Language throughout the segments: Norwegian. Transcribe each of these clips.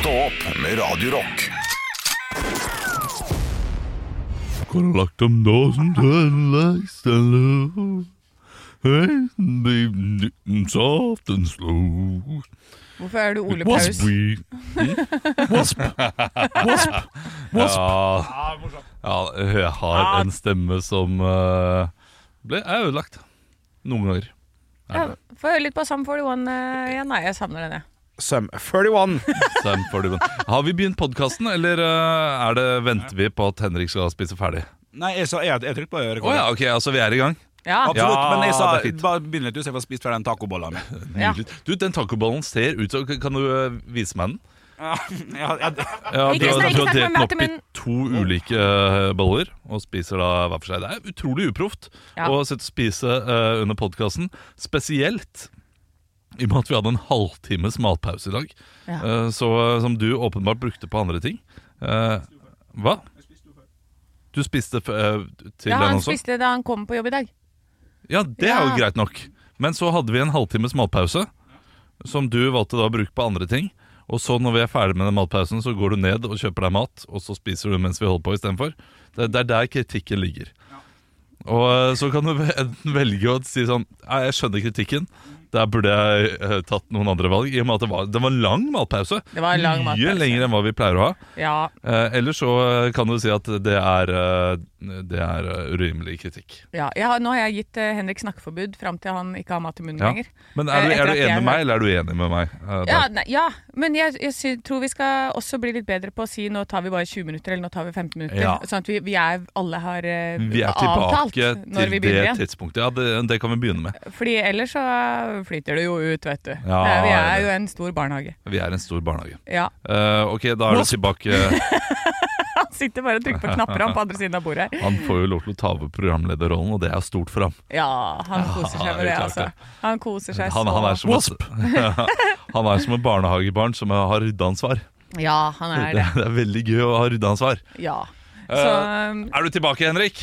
Stå opp med Radio Rock. Gonna lock them doors and turn the lights down low. Hey, baby, soft and slow. Hvorfor er du Ole Paus? Wasp. we- Wasp. Wasp. Wasp. Ja, ja, jeg har en stemme som eh, ble er ødelagt. Noen ganger. Ja, Få høre litt på Sam 41 eh, igjen. Nei, jeg savner den, jeg. Sum 41. Har vi begynt podkasten, eller eh, er det, venter vi på at Henrik skal spise ferdig? Nei, jeg, sa, jeg, jeg trykte på Å rekord. ja, ok, altså vi er i gang. Ja, Absolutt, Ja, men jeg sa det er fint. bare begynn litt, du, så jeg får spist fra den tacobolla mi. Jeg, ja. Nydelig. Du, den tacobollen ser ut som Kan du eh, vise meg den? jeg, Ja, Ikke du, har- snakk- du ikke har delt snakk den med meg opp til i to ulike eh, boller og spiser da hver for seg. Det er utrolig uproft Ja. å sitte og spise eh, under podkasten, spesielt i og med at vi hadde en halvtimes matpause i dag, Ja. eh, så, som du åpenbart brukte på andre ting. Eh, hva? Du spiste f eh, til ja, den han også? spiste da han kom på jobb i dag. Ja, det er Ja. jo greit nok. Men så hadde vi en halvtimes matpause, som du valgte da å bruke på andre ting. Og så når vi er ferdig med den matpausen, så går du ned og kjøper deg mat, og så spiser du mens vi holder på istedenfor. Det, det er der kritikken ligger. Og eh, så kan du ve- enten velge å si sånn Nei, jeg skjønner kritikken. Der burde jeg eh, tatt noen andre valg, i og med at det var, det var en lang matpause. Det var en lang matpause. Mye lenger enn hva vi pleier å ha. Ja, Eh, Eller så eh, kan du si at det er, eh, det er eh, urimelig kritikk. ja. Jeg har, nå har jeg gitt eh, Henrik snakkeforbud fram til han ikke har mat i munnen Ja. lenger. Men er du, Eh, etter er du at enig jeg med meg, eller er du enig med meg? eh, Ja, da? nei, ja. men jeg, jeg sy tror vi skal også bli litt bedre på å si nå tar vi bare 20 minutter, eller nå tar vi 15 minutter. Ja. Sånn at vi, vi er, alle har eh, vi er avtalt tilbake når til vi det begynner igjen. tidspunktet. Ja, det, det kan vi begynne med. Fordi ellers så flyter det jo ut, vet du. Ja, Det er- vi det- er jo en stor barnehage. Vi er en stor barnehage. Ja. Eh, ok, da er det tilbake Han sitter bare og trykker på knapper han på andre siden av bordet her. Han får jo lov til å ta over programlederrollen, og det er stort for ham. Ja, han koser seg med det, klart altså. det. Han koser seg Han, han, er så som et, han er som et barnehagebarn som har ryddeansvar. Ja, han er Det, det. det er veldig gøy å ha ryddeansvar. Ja. Så um, Eh, Er du tilbake, Henrik?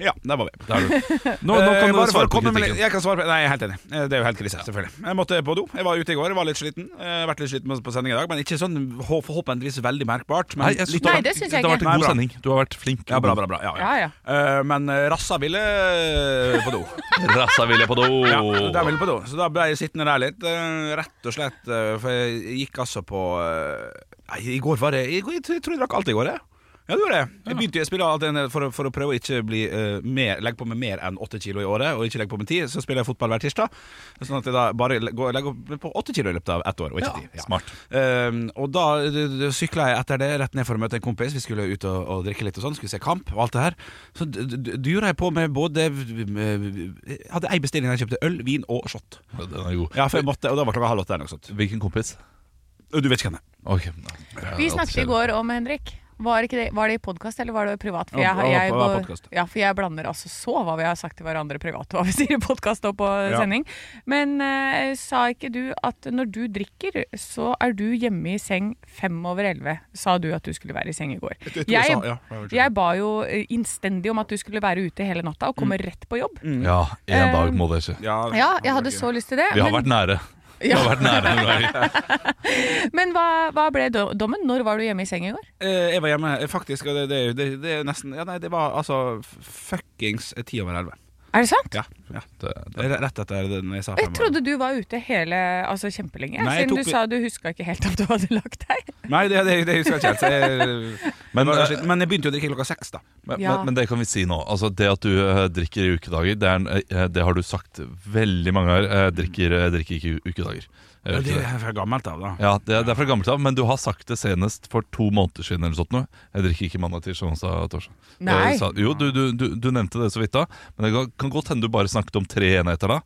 ja, der var vi. Det er du. Nå, nå Eh, kan du bare for å svare på komme med litt- kritikken. Jeg kan svare på Nei, jeg er helt enig. Eh, Det er jo helt krise, selvfølgelig. Jeg måtte på do. Jeg var ute i går, jeg var litt sliten. Eh, vært litt sliten på sending i dag, men ikke sånn hå- forhåpentligvis veldig merkbart. Men Nei, jeg synes litt- det, har Nei, vært- det synes jeg det har vært en god ikke. Nei, bra. sending. Du har vært flink. Ja, bra, bra, bra. Ja, ja. Ja, Eh, men eh, rassa ville eh, på do. Rassa ville på do. Ja, der ville på do. Så da ble jeg sittende der litt, eh, rett og slett, eh, for jeg gikk altså på eh, Nei, i går var det Jeg, jeg, tror jeg drakk alt i går, jeg. Ja, du gjorde det. Jeg begynte jeg spiller alt en- for, å- for å prøve å ikke bli, eh, mer, legge på meg mer enn åtte kilo i året, og ikke legge på meg ti, så spiller jeg fotball hver tirsdag. Sånn at jeg da bare går, legger opp på åtte kilo i løpet av ett år, og ikke ti. Ja. Smart. Ehm, og da sykla jeg etter det rett ned for å møte en kompis. Vi skulle ut og, og drikke litt og sånn, skulle se kamp og alt det her. Så d- d- dura jeg på med både Jeg hadde ei bestilling der jeg kjøpte øl, vin og shot. Den er god. Ja, for jeg måtte, og da var klokka halv åtte eller noe sånt. Hvilken kompis? Du vet ikke hvem det er. Ok vi snakket i går om Henrik. Var, ikke det, var det i podkast, eller var det privat? For Ja, jeg, det var jeg, på- går- podcast. ja, for jeg blander altså så hva vi har sagt til hverandre privat, og hva vi sier i podkast og på Ja. sending. Men eh, sa ikke du at når du drikker, så er du hjemme i seng fem over elleve? Sa du at du skulle være i seng i går. tror jeg Jeg, sa- ja, jeg vet ikke. jeg ba jo eh, innstendig om at du skulle være ute hele natta og komme rett på jobb. Mm. Ja, en dag må det skje. Ja, jeg hadde så lyst til det. Vi har men- vært nære. Vi har vært nære noen ganger. Men hva, hva ble do- dommen? Når var du hjemme i seng i går? Eh, Jeg var hjemme, eh, faktisk, og det, det, er jo- det, det er jo nesten Ja, nei, det var altså f- fuckings eh, ti over elleve. Er det sant? Ja, ja. Det, det, Det er Rett etter det når jeg sa Jeg fem. trodde du var ute hele, altså kjempelenge. Nei, jeg siden tok- du sa du huska ikke helt om du hadde lagt deg. Nei, det, det, det husker jeg ikke helt. så jeg- Men, det var eh, sliten. Men jeg begynte jo å drikke klokka seks, da. men, Ja. men, men det kan vi si nå. Altså, det at du eh, drikker i ukedager, det, er, en- eh, det har du sagt veldig mange ganger. Eh, drikker, eh, drikker ikke i ukedager. Jeg gjør Det ikke det. er fra gammelt av, da. Ja, det, er- det er fra gammelt av, men du har sagt det senest for to måneder siden. eller sånt noe. Jeg drikker ikke mandag, tirsdag, onsdag, torsdag. Det Nei. sa- jo, du, du, du, du nevnte det så vidt da, men det kan- kan godt hende du bare snakket om tre enheter da.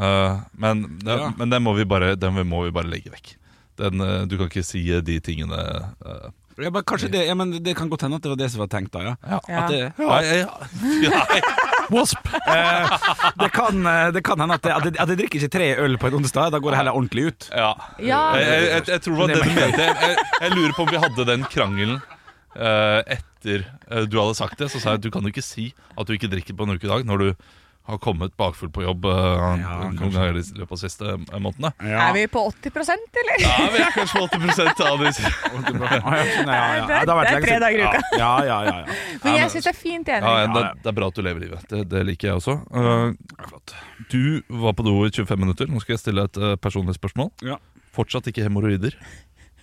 Eh, men, det, Ja. men den, må vi bare, den må vi bare legge vekk. Den, eh, du kan ikke si eh, de tingene eh, Ja, men kanskje det, ja, men det kan godt hende at det var det som var tenkt da, ja. Ja. At det, Nei, jeg- nei. Wasp! det, kan, eh, det kan hende at jeg, at jeg, at jeg drikker ikke tre øl på en onsdag, da går det heller ordentlig ut. Ja. Ja. Jeg, jeg, jeg, jeg tror det var det du mente. Jeg, jeg, jeg lurer på om vi hadde den krangelen eh, etter eh, du hadde sagt det. Så sa jeg at du kan jo ikke si at du ikke drikker på en ukedag når du har kommet bakfull på jobb eh, Ja, noen ganger i løpet av de siste eh, månedene. Ja. Er vi på 80 eller? Ja, vi er kanskje på 80 av de Å, ja, sånn, ja, ja. Det er- har vært det er tre lenge siden. dager i uka. Ja, ja, ja, ja. Men jeg syns det er fint enig. Ja, det, det er bra at du lever livet. Det, det liker jeg også. Eh, du var på do i 25 minutter. Nå skal jeg stille et eh, personlig spørsmål. Ja. Fortsatt ikke hemoroider.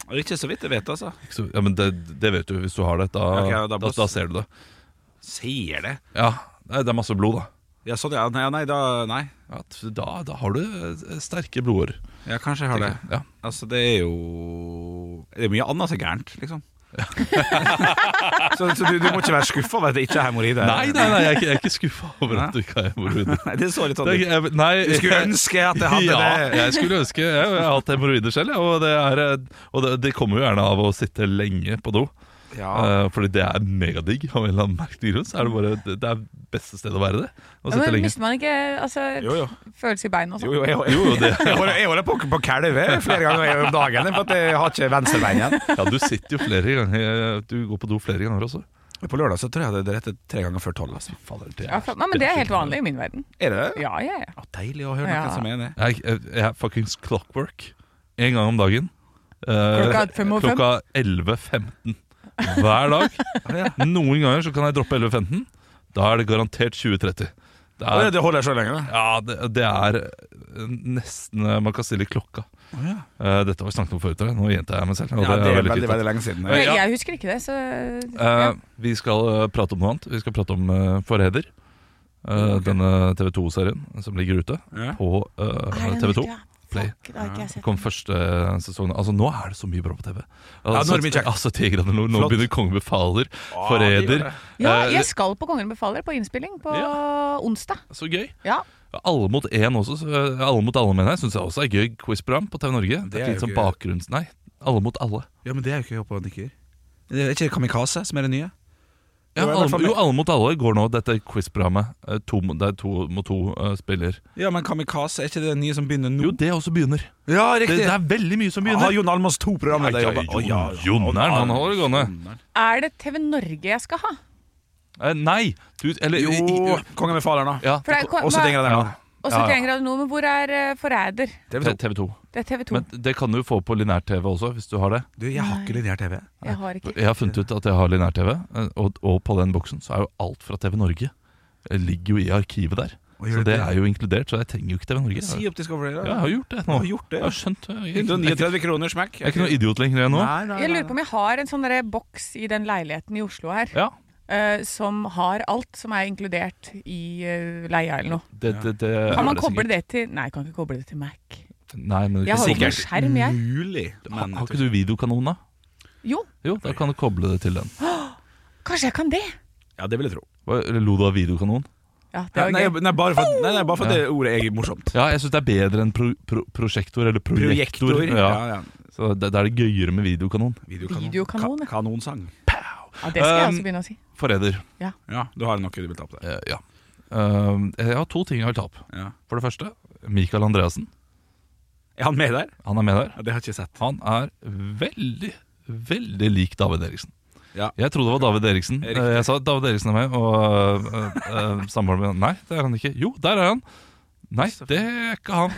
Og Ikke så vidt jeg vet, altså. Ikke så- Ja, men det, det vet du hvis du har det. Da, Ok, ja, da- da, da ser du det. Sier det. Ja, Nei, det er masse blod, da. Ja, sånn, ja. Nei, ja, nei, da, nei. Ja, t- da, da har du eh, sterke blodårer. Ja, kanskje jeg har det. Ja. Altså, det er jo Det er mye annet som er gærent, liksom. så så du, du må ikke være skuffa over at det ikke er hemoroider? Nei, nei, nei, jeg er ikke, jeg er ikke skuffa over at du ikke har hemoroider. Nei, det så litt sånn Det er ut. ikke- jeg- Nei, Du skulle jeg- ønske at jeg hadde ja, det. jeg skulle ønske Jeg, jeg har hatt hemoroider selv, jeg, og, det, er, eh, og det, det kommer jo gjerne av å sitte lenge på do. Ja. Eh, fordi det er megadigg. Av en eller annen merkelig grunn så er det bare det, det er beste stedet å være det. Å Ja, sitte men lenge. mister man ikke altså, Jo, jo. følelse i beina og Jo, sånn? jo, jeg, Jo, jo, det- jeg, holder, jeg holder på på kalve flere ganger om dagen for at jeg har ikke venstrebeinet. Ja, du sitter jo flere ganger eh, Du går på do flere ganger også. På lørdag så tror jeg det er rett tre ganger før tolv. Altså. Fader, det Ja, for, nei, men det er helt vanlig i min verden. Er det det? Ja, ja, ja. Ja, deilig å høre noen Ja. som er enig. Jeg, jeg, jeg er fuckings clockwork. En gang om dagen. Eh, Klokka fem og fem? klokka 11.15 hver dag. Noen ganger så kan jeg droppe 11.15. Da er det garantert 20.30. Det Ja, er, det holder jeg så lenge, da. ja, det, det er nesten eh, Man kan stille klokka. Eh, dette har vi snakket om før. tror jeg. Nå gjentar jeg meg selv. og er Ja, det er veldig veldig, fint. veldig lenge siden. Ja. Jeg husker ikke det, så Eh, ja. vi skal eh, prate om noe annet. Vi skal prate om eh, Forræder. Eh, Denne TV 2-serien som ligger ute Ja. på eh, TV 2. Play. Kom første sesongen Altså Nå er det så mye bra på TV. Altså, nå er det mye kjekt. altså, Tigraner nord. Nå Flott. begynner Kongen befaler, Å, det Forræder. gjør det. ja, Eh, jeg skal på Kongen befaler på innspilling på onsdag. Så gøy. Ja. Alle mot én også. så, eh, Alle mot alle, mener jeg. Syns jeg også er gøy quiz-program på TV Norge. Det Det er, er litt jo sånn gøy. bakgrunns... Nei. Alle mot alle. Ja, men det er jo ikke oppå nikker. Det er ikke Kamikaze som er det nye? Ja, Jo, i hvert alle, fall- jo, alle mot alle går nå, dette quiz-programmet. Eh, to mot- Det er to mot to eh, spiller. Ja, men Kamikaze er ikke det nye som begynner nå? Jo, det også begynner. Ja, Det, det riktig! er veldig mye som ah, begynner. Jon Almaas to programmer Nei, der jobber. Jon- Å, ja, ja. Jonneren, han holder det gående. Jonneren. Er det TV Norge jeg skal ha? Eh, Nei! Du, eller i- Jo, i- Kongen befaler, da. Ja, For det er, Og så trenger jeg den. Også trenger jeg noe, men hvor er eh, Forræder? TV 2. TV 2. Det er TV 2. Men det kan du få på lineær-TV også, hvis du har det. Du, jeg har ikke lineær TV. Jeg har ikke. Jeg har funnet ut at jeg har lineær-TV, eh, og, og på den boksen så er jo alt fra TV Norge eh, ligger jo i arkivet der. Å, gjør Så det det det? er jo inkludert, så jeg trenger jo ikke TV Norge. Si Ja, opp Discovery, da. jeg har gjort det nå. Du har gjort det, Jeg ja. har skjønt det. Jeg, jeg, jeg, 139 kroner, smekk. er ikke noen idiot lenger jeg nå. Nei, nei, Jeg nei, lurer på om jeg har en sånn derre boks i den leiligheten i Oslo her, Ja, eh, som har alt som er inkludert i eh, leia eller noe. det, det, det Kan man koble det til Nei, jeg kan ikke koble det til Mac. Nei, men Jeg har jo ikke sikkert. noen skjerm, jeg. Mulig, Har, men har ikke du videokanon, da? Jo, Jo, da kan du koble det til den. kanskje jeg kan det. Ja, det vil jeg tro. Hva- eller Lo du av videokanon? Ja, Oh! det Nei, var nei, gøy. nei, bare for, nei, nei, bare for at det ordet er morsomt. Ja, jeg syns det er bedre enn pro pro prosjektor eller projektor. Ja, Ja. ja. Så da da er det gøyere med videokanon. Videokanon. Videokanon, ja. Ka kanonsang. Ja, det skal jeg Um, også begynne å si. Forræder. Ja, du har noe du vil ta på det. Eh, ja. Ehm, jeg har to ting jeg vil ta opp. Ja. For det første, Michael Andreassen. Er han med der? Han er med der. Ja, det har jeg ikke sett. Han er veldig, veldig lik David Eriksen. Ja. Jeg trodde det var David Eriksen. Riktig. Eh, Jeg sa David Eriksen er med, og eh, eh, samboeren min Nei, det er han ikke. Jo, der er han. Nei, det er ikke han.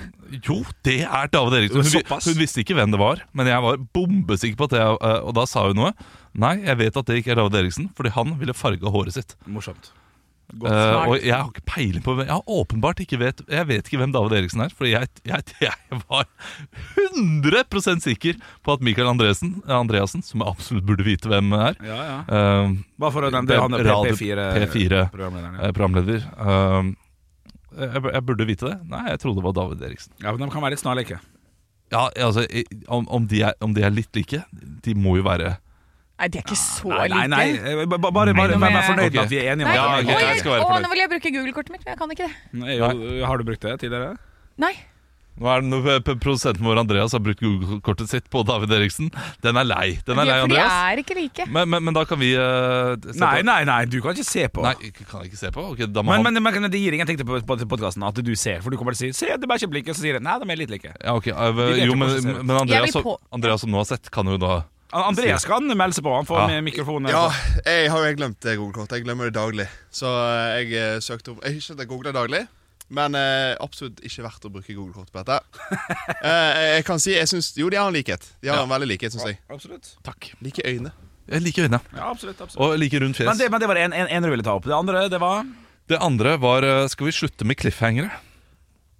Jo, det er David Eriksen. Hun, Såpass. vi- hun visste ikke hvem det var, men jeg var bombesikker på at det eh, Og da sa hun noe. Nei, jeg vet at det ikke er David Eriksen, fordi han ville farga håret sitt. Morsomt. Eh, Godt svar. og jeg har ikke peiling på hvem- Jeg har åpenbart ikke vet Jeg vet ikke hvem David Eriksen er, Fordi jeg, jeg, jeg var 100 sikker på at Michael Andresen, Andreassen, som jeg absolutt burde vite hvem er ja, ja. eh, Bare for å nevne det, han er radio- P4. P4-programlederen. Ja. eh, programleder eh, jeg, jeg burde vite det. Nei, jeg trodde det var David Eriksen. ja, men De kan være litt snarlike. Ja, altså, i- om, om, de er, om de er litt like, de må jo være Nei, de er ikke så Nei, nei, like. nei. eh, ba- ba- Bare, bare, nå må bare vær jeg- fornøyd Ok. med at vi er enige om Nei, Ja, at ok, det. å, jeg jeg, skal være å, fornøyd. nå vil jeg bruke Google-kortet mitt, men jeg kan ikke det. Nei, jo, Har du eh, brukt det tidligere? Nei. Nå er det noe- p- Produsenten vår Andreas har brukt Google-kortet sitt på David Eriksen. Den er lei. Den er lei, for de Andreas. er ikke like. Men, men, men da kan vi eh, se på- Nei, nei, nei, du kan ikke se på. Nei, ikke- kan jeg ikke se på? Ok, da må Men, han men, men det gir ingenting til på- på- til podcasten at du ser, for du kommer til å si 'se, det er bare ikke blikket', så sier jeg 'nei, de er litt like'. ja, ok, eh, vet Jo, jo men, hvordan det ser ut. men Andreas, Jeg vil på- som- Andreas som nå har sett, kan jo da An- Andreas kan melde seg på, han får Ja. med mikrofonen. Ja, jeg har jo glemt eh, Google-kort. Jeg glemmer det daglig. Så eh, jeg eh, søkte opp Jeg har ikke at jeg googler daglig, men eh, absolutt ikke verdt å bruke Google-kort på dette. Eh, jeg kan si, jeg synes, Jo, de har en likhet. De har en veldig likhet, syns jeg. Absolutt. Takk. Like øyne. Jeg liker øynene. Ja, absolutt, absolutt. Og like rundt fjes. Men det, Det, men det var en, en, en du ville ta opp. Det andre, det var andre var eh, Skal vi slutte med cliffhangere?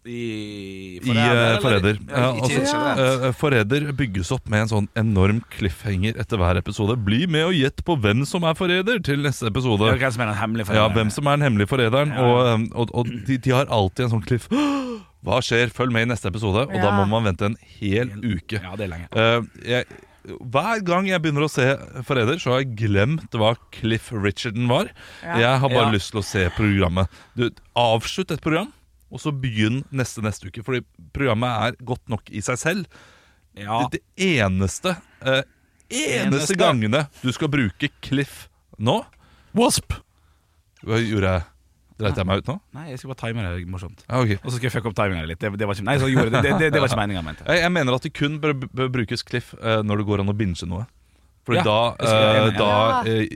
I I eh, Forræder. Ja, Ja, ikke altså, generelt. eh, Forræder bygges opp med en sånn enorm cliffhanger etter hver episode. Bli med og gjett på hvem som er forræder til neste episode. Det er hvem som er den hemmelige Ja, forræderen. hvem som er den hemmelige forræderen. Og, um, og, og de, de har alltid en sånn cliff Hva skjer? Følg med i neste episode. Og da Ja. må man vente en hel uke. Ja, det er lenge. Eh, jeg, hver gang jeg begynner å se Forræder, så har jeg glemt hva Cliff Richarden var. Ja. Jeg har bare Ja. lyst til å se programmet. Du, avslutt et program, og så begynn neste neste uke. Fordi programmet er godt nok i seg selv. Ja. Det, det eneste eh, eneste, Eneste. gangene du skal bruke Cliff nå Wasp! Hva gjorde jeg? Dreit jeg meg ut nå? Nei, jeg skulle bare time det morsomt. Ja, ok. Og så skal jeg fucke opp timinga litt. Det, det var ikke, nei, så gjorde det, det, det, det var ikke meninga, mente jeg. Jeg, jeg mener at det kun bør, bør brukes Cliff eh, når det går an å binge noe. For Ja, da, jeg skal- eh, jeg- da Ja. eh,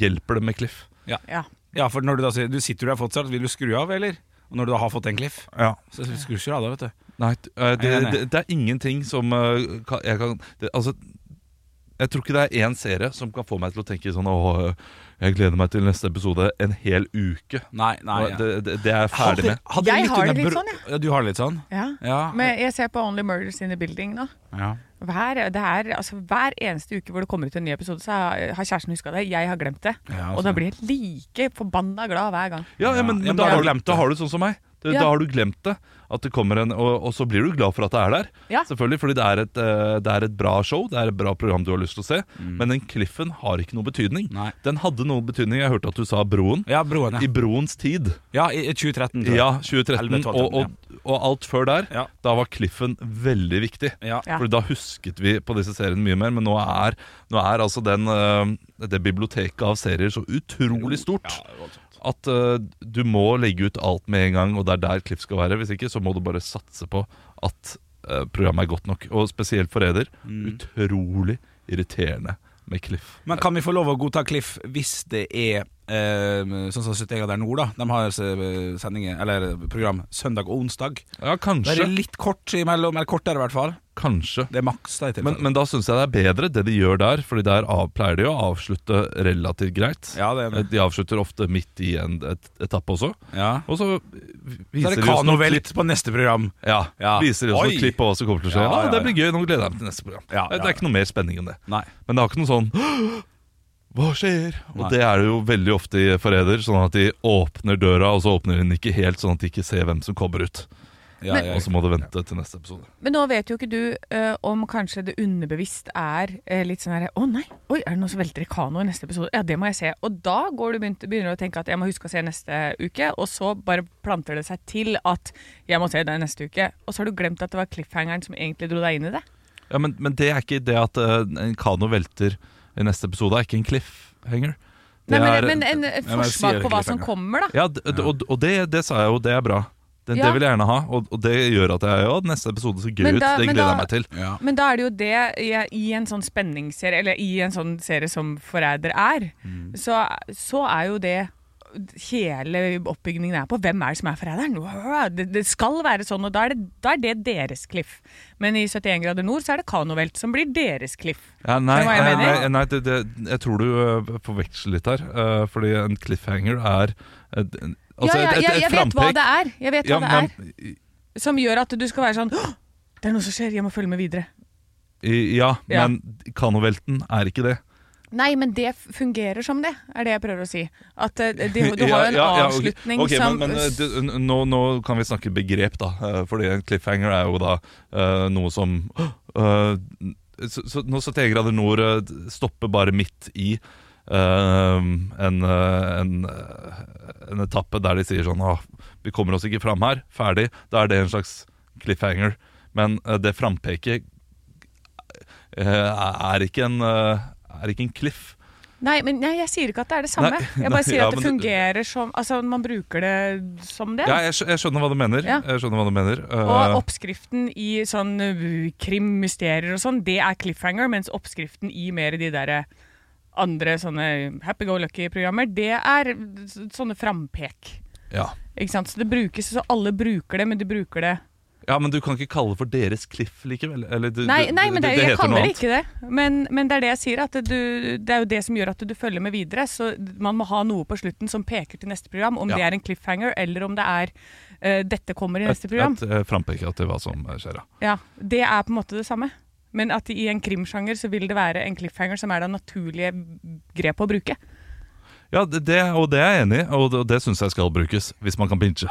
hjelper det med Cliff. Ja. Ja, for når du da sier Du sitter der fortsatt, vil du skru av, eller? Og når du da har fått en cliff, Ja. så skrur du ikke av da, vet du. Nei, t- eh, det, Jeg er enig. det, det er ingenting som eh, kan, jeg kan det, Altså, jeg tror ikke det er én serie som kan få meg til å tenke sånn Åh, jeg gleder meg til neste episode en hel uke. Nei, nei. Og det, det, det er jeg ferdig med. Jeg har det litt sånn, ja. ja. Du har det litt sånn? Ja. Ja. Men jeg ser på Only Murders in the Building nå. ja. Hver, det er, altså, hver eneste uke hvor det kommer ut en ny episode, så har- har kjæresten huska det. Jeg har glemt det. Ja, Og da blir jeg like forbanna glad hver gang. Ja, ja, men, Ja, men men da, jeg har har du, glemt da det. har du sånn som meg. Da, Ja. da har du glemt det. At det kommer en, og, og så blir du glad for at det er der. Ja. Selvfølgelig, fordi det er, et, eh, det er et bra show, det er et bra program du har lyst til å se. Men den cliffen har ikke noe betydning. Mm. Nei. Den hadde noe betydning. Jeg hørte at du sa Broen. ja broen, I ja. Broens tid. Ja, i i 2013. tror jeg. Ja, 2013. 11-12, Og, og, og alt før der. Ja. Da var cliffen veldig viktig. Ja. Ja. For da husket vi på disse seriene mye mer. Men nå er, nå er altså den, eh, det biblioteket av serier så utrolig stort at eh, du må legge ut alt med en gang, og det er der Cliff skal være. Hvis ikke så må du bare satse på at eh, programmet er godt nok. Og spesielt Forræder. Mm. Utrolig irriterende med Cliff. Men kan vi få lov å godta Cliff hvis det er eh, sånn som 70 grader nord, da? De har eh, sendinger, eller program søndag og onsdag. Ja, Da er kanskje. det litt kort imellom, eller kortere i hvert fall. Kanskje. Det er maks da i Men, tilfelle. men da syns jeg det er bedre, det de gjør der. Fordi der av, pleier de å avslutte relativt greit. Eh, ja, det er, De avslutter ofte midt i en et, etappe også. ja. Og så Så viser er det de oss noen klipp. kanovelt på neste program. Ja, Ja. Viser de oss Oi. noen klipp på hva som kommer til å skje. Ja, Ja, ja, Det blir gøy. Nå gleder jeg meg til neste program. Ja, det ja, er ikke noe mer spenning enn det. Nei. Men det har ikke noe sånn Hva skjer? Og Nei. det er det jo veldig ofte i Forræder. Sånn at de åpner døra, og så åpner de den ikke helt, sånn at de ikke ser hvem som kommer ut. Ja, Men- ja, Og så må du vente til neste episode. Men nå vet jo ikke du eh, om kanskje det underbevisst er eh, litt sånn herre Å nei, oi, er det noen som velter i kano i neste episode? Ja, det må jeg se. Og da går du begynt, begynner du å tenke at jeg må huske å se neste uke, og så bare planter det seg til at jeg må se det neste uke. Og så har du glemt at det var cliffhangeren som egentlig dro deg inn i det. Ja, Men, men det er ikke det at eh, en kano velter i neste episode, er ikke en cliffhanger. Det Nei, men, er- men en, et men jeg sier forsmak på hva som cliffhanger. kommer, da. Ja, d- d- og, og det, det sa jeg jo, det er bra. Det, Ja. det vil jeg gjerne ha, og, og det gjør at jeg ja, neste episode så gøy Men ut. da- Det men gleder da- jeg meg til. ja. Men da er det jo det jeg, i en sånn spenningsserie, eller i en sånn serie som Forræder er, Mm. så, så er jo det hele oppbyggingen er på. Hvem er det som er forræderen? Wow, Det, det skal være sånn, og da er, det, da er det deres cliff. Men i 71 grader nord så er det kanovelt som blir deres cliff. Ja, nei, Skjønner du hva jeg nei, mener? nei, nei det, det, jeg tror du øh, forveksler litt her. øh, fordi en cliffhanger er et, en- altså ja, ja, et, et, et jeg, jeg vet hva frampek. det er. Jeg vet Ja, hva det er. men- Som gjør at du skal være sånn «Åh, Det er noe som skjer, jeg må følge med videre. i- ja, Ja. men kanovelten er ikke det. Nei, men det f- fungerer som det, er det jeg prøver å si. At eh, det, du Ja, har jo en ja, ja, ok. avslutning Ok, som men, men, øh, det, n- nå, nå kan vi snakke begrep, da. øh, fordi en cliffhanger er jo da øh, noe som eh, øh, så, så, Når 71 grader nord øh, stopper bare eh, midt i eh, en, eh, en, eh, en etappe der de sier sånn Åh, vi kommer oss ikke fram her, ferdig. Da er det en slags cliffhanger. Men eh, det frampeket eh, er, ikke en, eh, er ikke en cliff. Nei, men nei, jeg sier ikke at det er det samme. Nei, jeg nei, bare sier ja, at det men det- fungerer som Altså, man bruker det som det. Ja, jeg, skj- jeg skjønner hva du mener. Ja. Jeg skjønner hva du mener. Eh, Og oppskriften i sånn uh, krim, mysterier og sånn, det er cliffhanger, mens oppskriften i mer de der eh, andre sånne happy-go-lucky-programmer, det er s- sånne frampek. ja. Ikke sant? Så det brukes, så alle bruker det, men de bruker det ja, men du kan ikke kalle det for deres cliff likevel. Eller, du, Nei, du- nei men det, er- jeg heter noe kaller det annet. ikke det. Men, men det er det jeg sier, at du, det er jo det som gjør at du følger med videre. Så man må ha noe på slutten som peker til neste program, om Ja. det er en cliffhanger, eller om det er eh, 'dette kommer i neste Et- program'. Et, eh, frampek til hva som skjer, ja. Ja, Det er på en måte det samme. Men at i en krimsjanger så vil det være en cliffhanger som er det naturlige grepet å bruke. Ja, det, det, og det er jeg enig i, og det, og det syns jeg skal brukes hvis man kan pinche.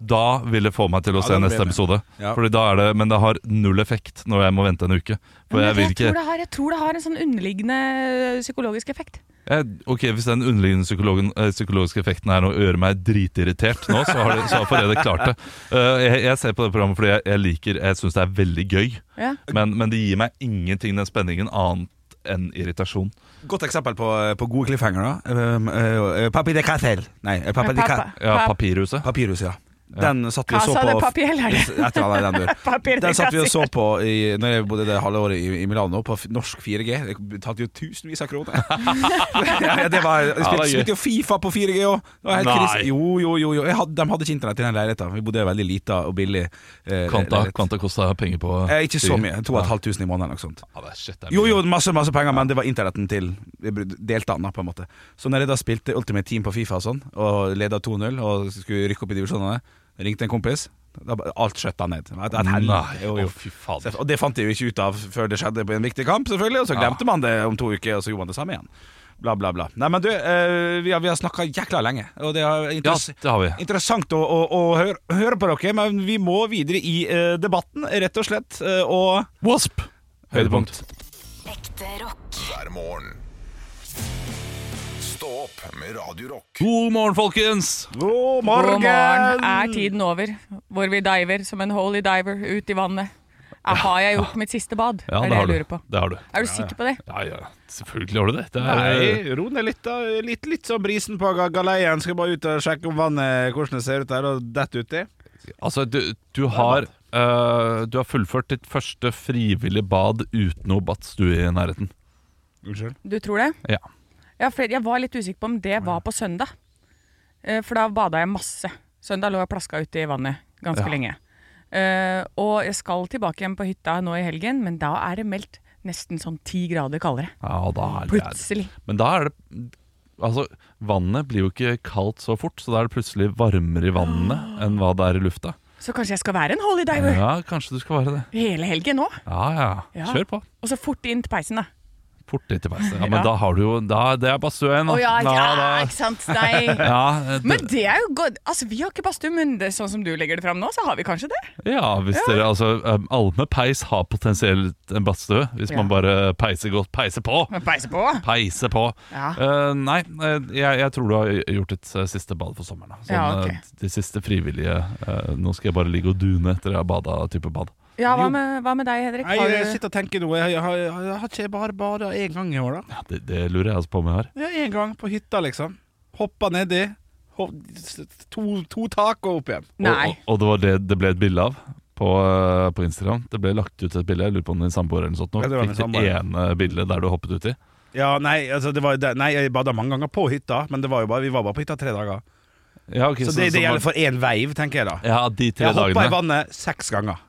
Da vil det få meg til å Ja, se den blir neste med. episode. Ja. Fordi da er det, men det har null effekt når jeg må vente en uke. For Men jeg vil jeg, ikke tror det har, jeg tror det har en sånn underliggende psykologisk effekt. jeg, Ok, Hvis den underliggende psykologen- eh, psykologiske effekten er å gjøre meg dritirritert nå, så har, det, så har Forræder klart det. Eh, jeg, jeg ser på det programmet fordi jeg, jeg liker Jeg syns det er veldig gøy. Ja. Men, men det gir meg ingenting, den spenningen, annet enn irritasjon. Godt eksempel på, eh, på gode cliffhanger. da um, uh, Papi de Catel. Nei, eh, Papa de Ca... Ja, Pap- Papirhuset. Papyrus, ja. Den satt vi og så Casa de på Papiel er det. Et eller annet i den dur. Papir de Den satt vi og Casa. så på i, Når jeg bodde det halve året i, i Milano, på f- norsk 4G. Det tatt jo tusenvis av kroner. ja, ja, det var, jeg Ja, spilte, det er gøy. spilte jo Fifa på 4G òg! Nei. Jo, jo, jo. jo. Jeg hadde, de hadde ikke internett i den leiligheten. Vi bodde i en veldig lita og billig. Eh, Kvanta, leilighet. kvanta kosta penger på Eh, ikke så Sigrid. mye. 2500 i måneden eller noe sånt. Ja, det er shit, det er Jo, mye. jo, masse masse penger, men det var internetten til deltakerne, på en måte. Så når jeg da spilte Ultimate Team på Fifa og sånn, og leda 2-0 og skulle rykke opp i divisjonene, ringte en kompis, da ba- alt skjøtta ned. Det var et- et helvete. Nei, Jo, å jo. fy fader. Så- Og det fant jeg jo ikke ut av før det skjedde på en viktig kamp, selvfølgelig, og så Ja. glemte man det om to uker, og så gjorde man det samme igjen. Bla, bla, bla. Nei, men du, eh, vi har, vi har snakka jækla lenge, og det har Ja, interess det har vi. Interessant å, å, å høre, høre på dere, men vi må videre i eh, debatten, rett og slett. eh, og Wasp. Høydepunkt. Ekte rock. hver morgen. Stå opp med Radio Rock. God morgen, folkens! god God morgen! morgen er tiden over, hvor vi diver som en holy diver ut i vannet. Er- Har jeg gjort mitt siste bad? Ja, er det det har jeg du. lurer på. Det har du. Er du sikker på det? Ja, ja, selvfølgelig har du det. det er, Nei, ro ned litt, da. Litt, litt sånn brisen på ga- galeien. Skal bare ut og sjekke om vannet hvordan det ser ut der, og dette uti. Altså, du, du har eh, Du har fullført ditt første frivillige bad uten noe badstue i nærheten. Unnskyld. Du tror det? Ja. Ja, for jeg var litt usikker på om det var på søndag. Eh, For da bada jeg masse. Søndag lå jeg plaska ute i vannet ganske Ja. lenge. Eh, og jeg skal tilbake igjen på hytta nå i helgen, men da er det meldt nesten sånn ti grader kaldere. Ja, da er det Plutselig. Men da er det Altså, vannet blir jo ikke kaldt så fort, så da er det plutselig varmere i vannet enn hva det er i lufta. Så kanskje jeg skal være en holy diver Ja, kanskje du skal være det. hele helgen nå? Ja, ja. Ja. Kjør på. Og så fort inn til peisen, da. Fort litt i peisen. Ja, men Ja. da har du jo da, Det er badstue igjen, Å da. ja, ja, da- ikke sant? Nei. Ja, eh, det, Men det er jo godt. Altså, vi har ikke badstue, men det, sånn som du legger det fram nå, så har vi kanskje det. ja, hvis dere altså um, Alle med peis har potensielt en badstue, hvis Ja. man bare peiser godt. Peiser på! Men peise på. Peise på! Ja. Eh, nei, eh, jeg, jeg tror du har gjort ditt eh, siste bad for sommeren. Da. Sånn, Ja, ok. eh, De siste frivillige eh, Nå skal jeg bare ligge og dune etter jeg har bada type bad. Ja, hva med, hva med deg, Henrik? Nei, Har jeg du- sitter og tenker nå. Jeg, har- jeg, har- jeg har ikke bare bada én gang i år, da. Ja, det, det lurer jeg altså på om jeg har. Ja, Én gang på hytta, liksom. Hoppa nedi. Hopp, to, to tak og opp igjen. Nei. Og, og, og det var det det ble et bilde av. På, eh, på Instagram. Det ble lagt ut et bilde. Jeg lurer på om din samboer eller noe sånt nå Ja, det var min fikk det samboer. ene bildet der du hoppet uti. Ja, nei, altså, det var, det, nei jeg bada mange ganger på hytta, men det var jo bare, vi var bare på hytta tre dager. Ja, ok, Så det, det var- gjelder for én veiv, tenker jeg da. Ja, de tre Jeg hoppa i dagene. vannet seks ganger.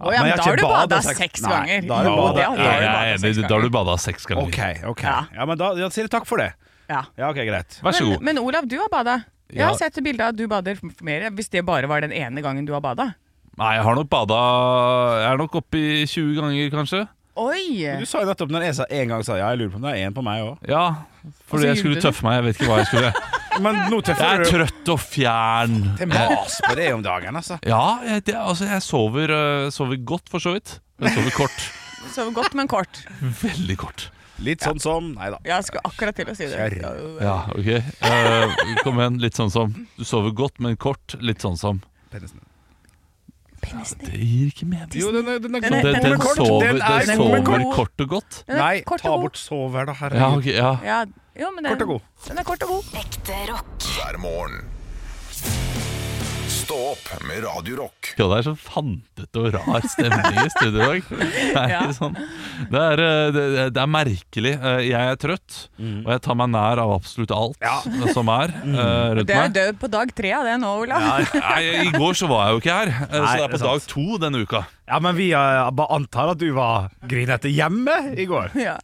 Å ja, Men men jeg da har har du ikke bada badet seks- seks Nei, ganger. da har jeg Jo, badet- det Ja, har- da har du jeg badet er enig, seks da har ganger. du bada seks ganger. OK, OK. Ja. Ja, men da, da sier jeg takk for det. Ja. Ja, ok, greit. Vær så Men, god. men Olav, du har bada. Jeg har Ja. sett bilde av at du bader f- mer, hvis det bare var den ene gangen du har bada. Nei, jeg har nok bada Jeg er nok oppe i 20 ganger, kanskje. Oi! Du sa jo nettopp når jeg sa en gang sa jeg, ja, jeg lurer på om det er en på meg òg. Ja, Og så fordi jeg gjorde skulle du tøffe meg. Jeg vet ikke hva jeg skulle. Men nå Jeg tøffer er du trøtt og fjern. til mas på det om dagen, altså. Ja, jeg, det, altså, jeg eh, sover, øh, sover godt, for så vidt. Jeg sover kort. Sover godt, men kort. Veldig kort. Litt sånn som Nei da. Jeg skulle akkurat til å si det. Ja, ok Eh, Kom igjen, litt sånn som Du sover godt, men kort, litt sånn som Pennesen. Penisen. Det gir ikke mening Jo, den er, den er Den er- Den, den den er kort. sover, Den er den god, sover men kort. kort. og godt Den er Nei, kort ta og god. bort sover, da. Herregud. Ja, ok, ja Ja, jo, men den, Kort og god. Den er kort og god. Ekte rock. hver morgen. Stå opp med Radio Rock. Det er så fantete og rar stemning i studio i dag. Det er, Ja. sånn, det, er, eh, det, det er merkelig. Eh, Jeg er trøtt, og jeg tar meg nær av absolutt alt som er eh, rundt Det er meg. død på dag tre av det nå, Olav. Nei, I går så var jeg jo ikke her, eh, så Nei, det er det på er dag to denne uka. Ja, men vi eh, bare antar at du var grinete hjemme i går. Ja.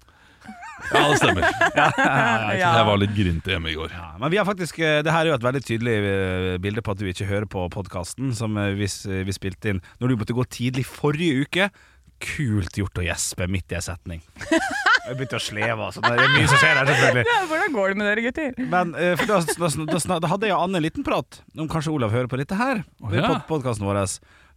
Ja, det stemmer. Ja. Jeg var litt grinte hjemme i går. Ja, Men vi har faktisk, eh, det her er jo et veldig tydelig eh, bilde på at du ikke hører på podkasten som eh, vi, s- vi spilte inn når du måtte gå tidlig forrige uke. Kult gjort å gjespe midt i en setning. Jeg begynte å sleve. Altså. Det er mye som skjer her, selvfølgelig. Ja, Hvordan går det med dere, gutter? Men eh, for da, da, da, sna- da hadde jeg og Anne en liten prat om kanskje Olav hører på dette her. Å, ved ja. pod- podcasten vår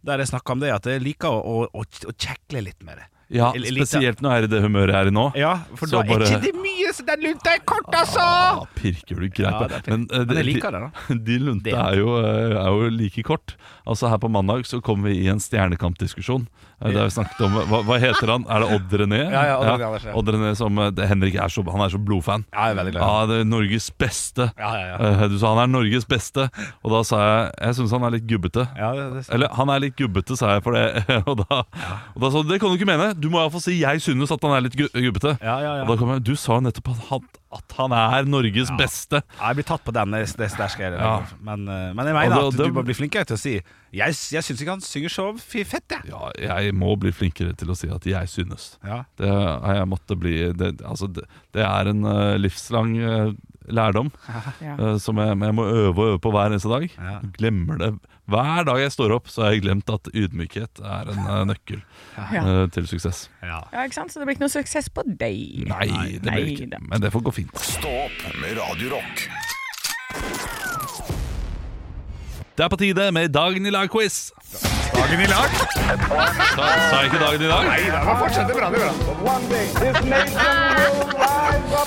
Der jeg snakka om det, at jeg liker å, å, å, å kjekle litt med det. Ja, L- litt- Spesielt når jeg er i det humøret jeg er i nå. Ja, for da Så er bare- ikke det mye, så den lunta er kort, altså! Ah, pirker du greit Ja, på. det er fint. Men, eh, Men jeg liker det, da. Din lunte Det- er jo, eh, er jo like kort. Altså Her på mandag så kom vi i en stjernekampdiskusjon. Eh, Der vi snakket om Hva, hva heter han? Er det Odd René? Ja, ja, Odd René Andersen, ja. Odd René som eh, det, Henrik er så, han er så blodfan. Ja, jeg er veldig glad. Ja, det er Norges beste. Ja, ja, ja. Eh, Du sa han er Norges beste, og da sa jeg jeg syns han er litt gubbete. Ja, det, det, Eller han er litt gubbete, sa jeg for det. Og da, og da sa du det kan du ikke mene. Du må iallfall si jeg synes at han er litt gu- gubbete. ja, ja, Og ja. da kom jeg, Du sa jo nettopp at han, at han er Norges beste. Ja, Jeg blir tatt på den, det, det det skal jeg gjøre. Ja. Men, eh, men jeg Og mener da- at da- du må bli flinkere til å si Jeg, s- jeg syns ikke han synger så f- fett, jeg. Ja, jeg må bli flinkere til å si at jeg synes. Ja. Det har jeg måttet bli Det, altså, det, det er en eh, livslang eh, lærdom Ja. eh, som jeg, jeg må øve og øve på hver eneste dag. Ja. Glemmer det Hver dag jeg står opp, så har jeg glemt at ydmykhet er en eh, nøkkel Ja. eh, til suksess. Ja. Ja, ikke sant? Så det blir ikke noe suksess på deg. Nei, det blir det da. ikke. Men det får gå fint. Stå opp med Radio Rock. Det er på tide med Dagen i lag-quiz. Dagen i lag. Sa, sa jeg ikke dagen i dag? Nei da, men fortsett det er bra. Det er bra.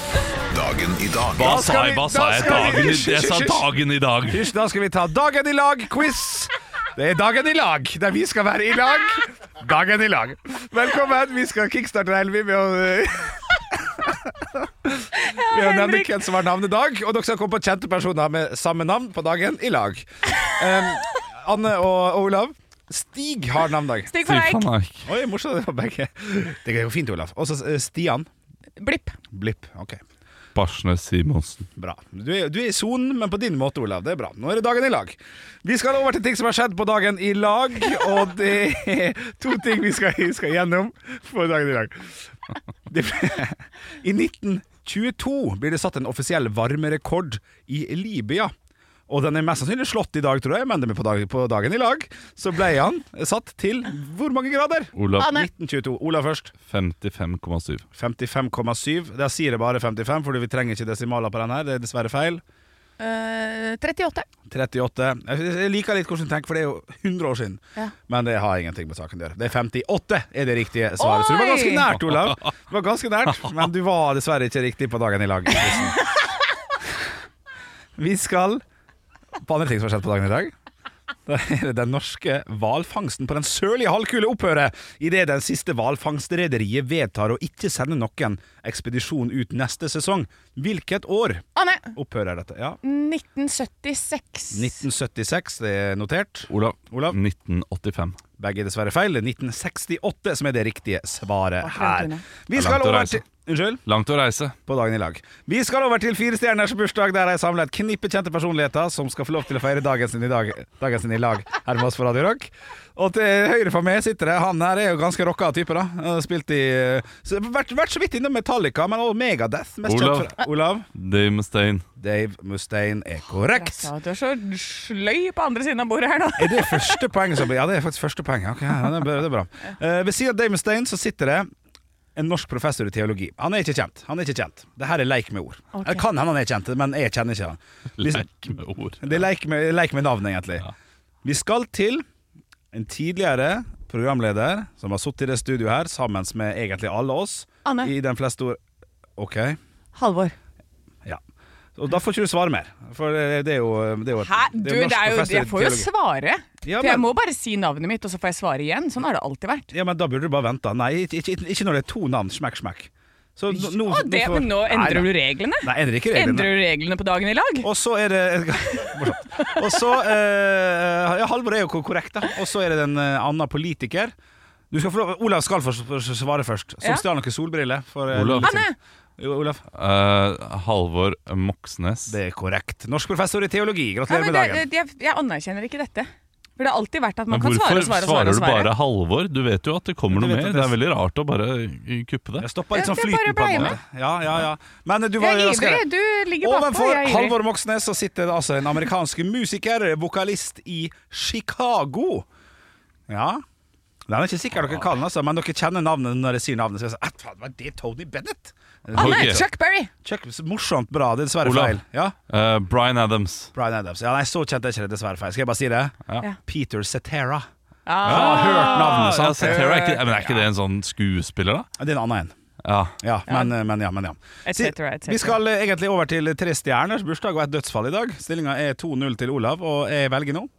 Dagen i dag. Hva Da skal sa jeg? vi- Hva sa da jeg? skal vi- Dagen i, jeg sa dagen i dag. Hysj, da skal vi ta Dagen i lag-quiz. Det er Dagen i lag, der vi skal være i lag. Dagen i lag. Velkommen. Vi skal kickstarte Elvi med å Vi har nevnt Henrik. hvem som har navnedag, og dere skal komme på kjente personer med samme navn på dagen i lag. Um, Anne og Olav. Stig har navnedag. Stig Fy van Eijk. faen, Eik. Oi, morsomt det var begge. Det går jo fint, Olav. Og så eh, Stian. Blipp. Blipp. Ok, Barsnes Simonsen. bra. Du er, du er i sonen, men på din måte, Olav. Det er bra. Nå er det dagen i lag. Vi skal over til ting som har skjedd på dagen i lag, og det er to ting vi skal, skal gjennom på dagen i lag. Det, ble- I 1922 blir det satt en offisiell varmerekord i Libya. Og den er mest sannsynlig slått i dag, tror jeg, men det er på, dag, på dagen i lag så ble han satt til hvor mange grader? Olav 1922. Olav først. 55,7. 55,7. Der sier jeg bare 55, for vi trenger ikke desimaler på den her. Det er dessverre feil. Eh, 38. 38. Jeg jeg liker litt hvordan du tenker, for det er jo 100 år siden. Ja. Men det har ingenting med saken å gjøre. Det er 58 er det riktige svaret. Så du var Oi! ganske nært, Olav. Du var ganske nært, Men du var dessverre ikke riktig på dagen i lag. Vi skal på andre ting som har skjedd på dagen i dag. Da er det den norske hvalfangsten på den sørlige halvkule opphører idet den siste hvalfangstrederiet vedtar å ikke sende noen ekspedisjon ut neste sesong. Hvilket år Anne. opphører dette? Ja, 1976. 1976, det er notert. Olav. Olav. 1985. Begge er dessverre feil. Det er 1968 som er det riktige svaret Akkurat her. unna. Det Vi er skal langt å over reise. til Unnskyld? Langt å reise. På dagen i lag. Vi skal over til Fire stjerners bursdag, der jeg samler et knippe kjente personligheter som skal få lov til å feire dagen sin i, dag, dagen sin i lag her med oss på Radio Rock. Og til høyre for meg sitter det Han her er jo ganske rocka type, da. Han har Spilt i så, vært, vært så vidt innom Metallica, men også Megadeth. Mest kjent Olav. fra- Olav. Dave Mustaine. Dave Mustaine er Jeg korrekt. sa at du er så sløy på andre siden av bordet her nå. Er det første poeng som blir Ja, det er faktisk første poeng. Ok, ja, det er bra. Det er bra. Eh, ved siden av Damon Stein så sitter det en norsk professor i teologi. Han er ikke kjent. Han er ikke kjent. Det her er leik med ord. Ok. Det kan hende han er kjent, men jeg kjenner ikke han. Vi- Lek med ord. Det er leik med, leik med navn, egentlig. Ja. Vi skal til en tidligere programleder som har sittet i det studioet her sammen med egentlig alle oss Anne. i den fleste ord OK. Halvor. Ja. Og da får ikke du svare mer, for det det er jo det er jo- Hæ? det Du, er jo det norsk er jo, professor i jeg får jo teologi. svare. Ja, For jeg men- må bare si navnet mitt, og så får jeg svare igjen. Sånn har det alltid vært. Ja, men da burde du bare vente. Nei, ikke, ikke, ikke når det er to navn. Smekk, smekk. Så nå, nå, Og det, får- men nå Nei, endrer du nei. reglene. Nei, endrer ikke reglene. Endrer du reglene på dagen i lag? Og så er det Morsomt. Og så eh, Ja, Halvor er jo ko- korrekt, da. Og så er det en eh, annen politiker. Du skal få lov, Olav skal få s- få svare først, som Ja. stjal noen solbriller. For, eh, Olav. litt Anne! siden. Jo, Olav. Eh, Halvor Moxnes. Det er korrekt. Norsk professor i teologi. Nei, Gratulerer men med det, dagen. det, jeg, jeg anerkjenner ikke dette. For det har alltid vært at Men man kan hvorfor svare og svare svarer og svare. du og svare. bare Halvor? Du vet jo at det kommer Du noe vet mer. Det at det- er veldig rart å bare eh, kuppe det. Jeg stoppa litt Det- sånn det flyten bare på ble en med. måte. Ja, ja, ja. Men eh, du var Jeg jo er raskere. ivrig. Du ligger bakpå. Ovenfor Jeg er ivrig. Halvor Moxnes så sitter det altså en amerikansk musiker, vokalist i Chicago. Ja Den er ikke sikker dere kan, altså, men dere kjenner navnet når jeg sier navnet. Så jeg sier, «Ah, faen, var det Tony Bennett? Anne, Ok. Chuck Berry! Chuck, så morsomt bra, det er dessverre Olav. feil. Ja, Eh, Bryan Adams. Bryan Adams. Ja, nei, så kjente jeg ikke det, dessverre feil. Skal jeg bare si det? Ja. Peter Cetera. Ah, Jeg har hørt navnet, Ja, sant? Cetera, er, ikke, men er ikke det en sånn skuespiller, da? Det er en annen en. Ja. Ja, men ja, men ja. Men, ja. Et cetera, et cetera. Vi skal eh, egentlig over til tre stjerners bursdag og et dødsfall i dag. Stillinga er 2-0 til Olav, og jeg velger nå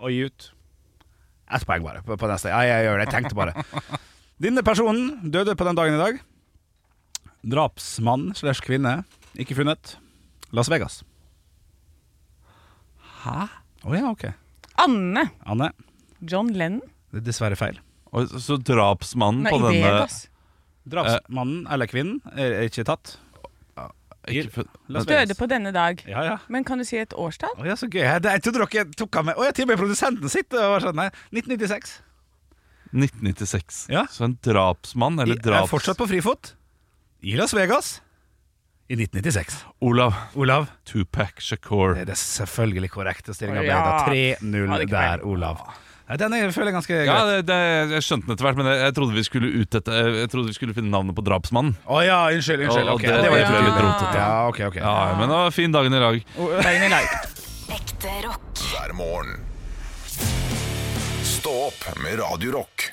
å gi ut ett poeng bare på, på neste. Ja, jeg gjør det. Jeg tenkte bare. Denne personen døde på den dagen i dag. Drapsmann slash kvinne. Ikke funnet. Las Vegas. Hæ? Å ja, ok. Anne. Anne, John Lennon. det er dessverre feil. Og så drapsmannen Nei, Mm, på i altså. denne Vegas. Drapsmannen eller kvinnen er ikke tatt. Ikke fun- Las Eh. Døde på denne dag. Ja, ja. Men kan du si et årstall? Å ja, så gøy. Jeg, jeg trodde dere tok han med Å, jeg til og med produsenten sitt. Og var sånn, nei, 1996. 1996. Ja. Så en drapsmann, eller Jeg er draps... fortsatt på frifot. I Las Vegas. I 1996. Olav Olav. Tupac Shakur. Det er det selvfølgelig korrekte stillinga. Ja. ble da 3-0 Ja, det er ikke der, Olav. Nei, den er, føler jeg ganske Ja, greit. det, det, jeg skjønte den etter hvert, men jeg, jeg trodde vi skulle ut etter, Jeg trodde vi skulle finne navnet på drapsmannen. Å ja, unnskyld. Og- unnskyld og ok. det- det var det litt ble litt rotete. rotete. Ja, ok, ok. Ja, men det var fin dagen i dag. Dagen i dag. Ekte rock. hver morgen. Stå opp med Radio Rock.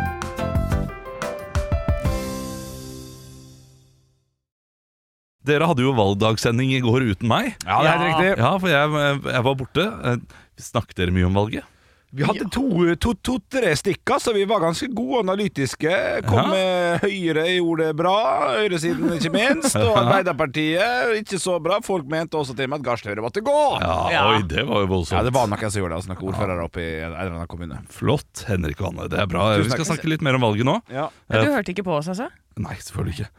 Dere hadde jo valgdagssending i går uten meg. Ja, det er helt riktig. Ja, for jeg, jeg var borte. Eh, Snakket dere mye om valget? Vi hadde to-tre to, to, tre stykker, så vi var ganske gode analytiske. Ja. Kom med Høyre gjorde det bra, høyresiden ikke minst, og Arbeiderpartiet ikke så bra. Folk mente også til og med at Gahr Støre måtte gå. Ja, Ja. Oi, det var jo voldsomt. Ja, det var noen som gjorde det, altså noen ordførere oppe i en eller annen kommune. Flott, Henrik og Anne. Det er bra. Tusen Vi skal takk. snakke litt mer om valget nå. Ja. Men Du hørte ikke på oss, altså? Nei, selvfølgelig ikke.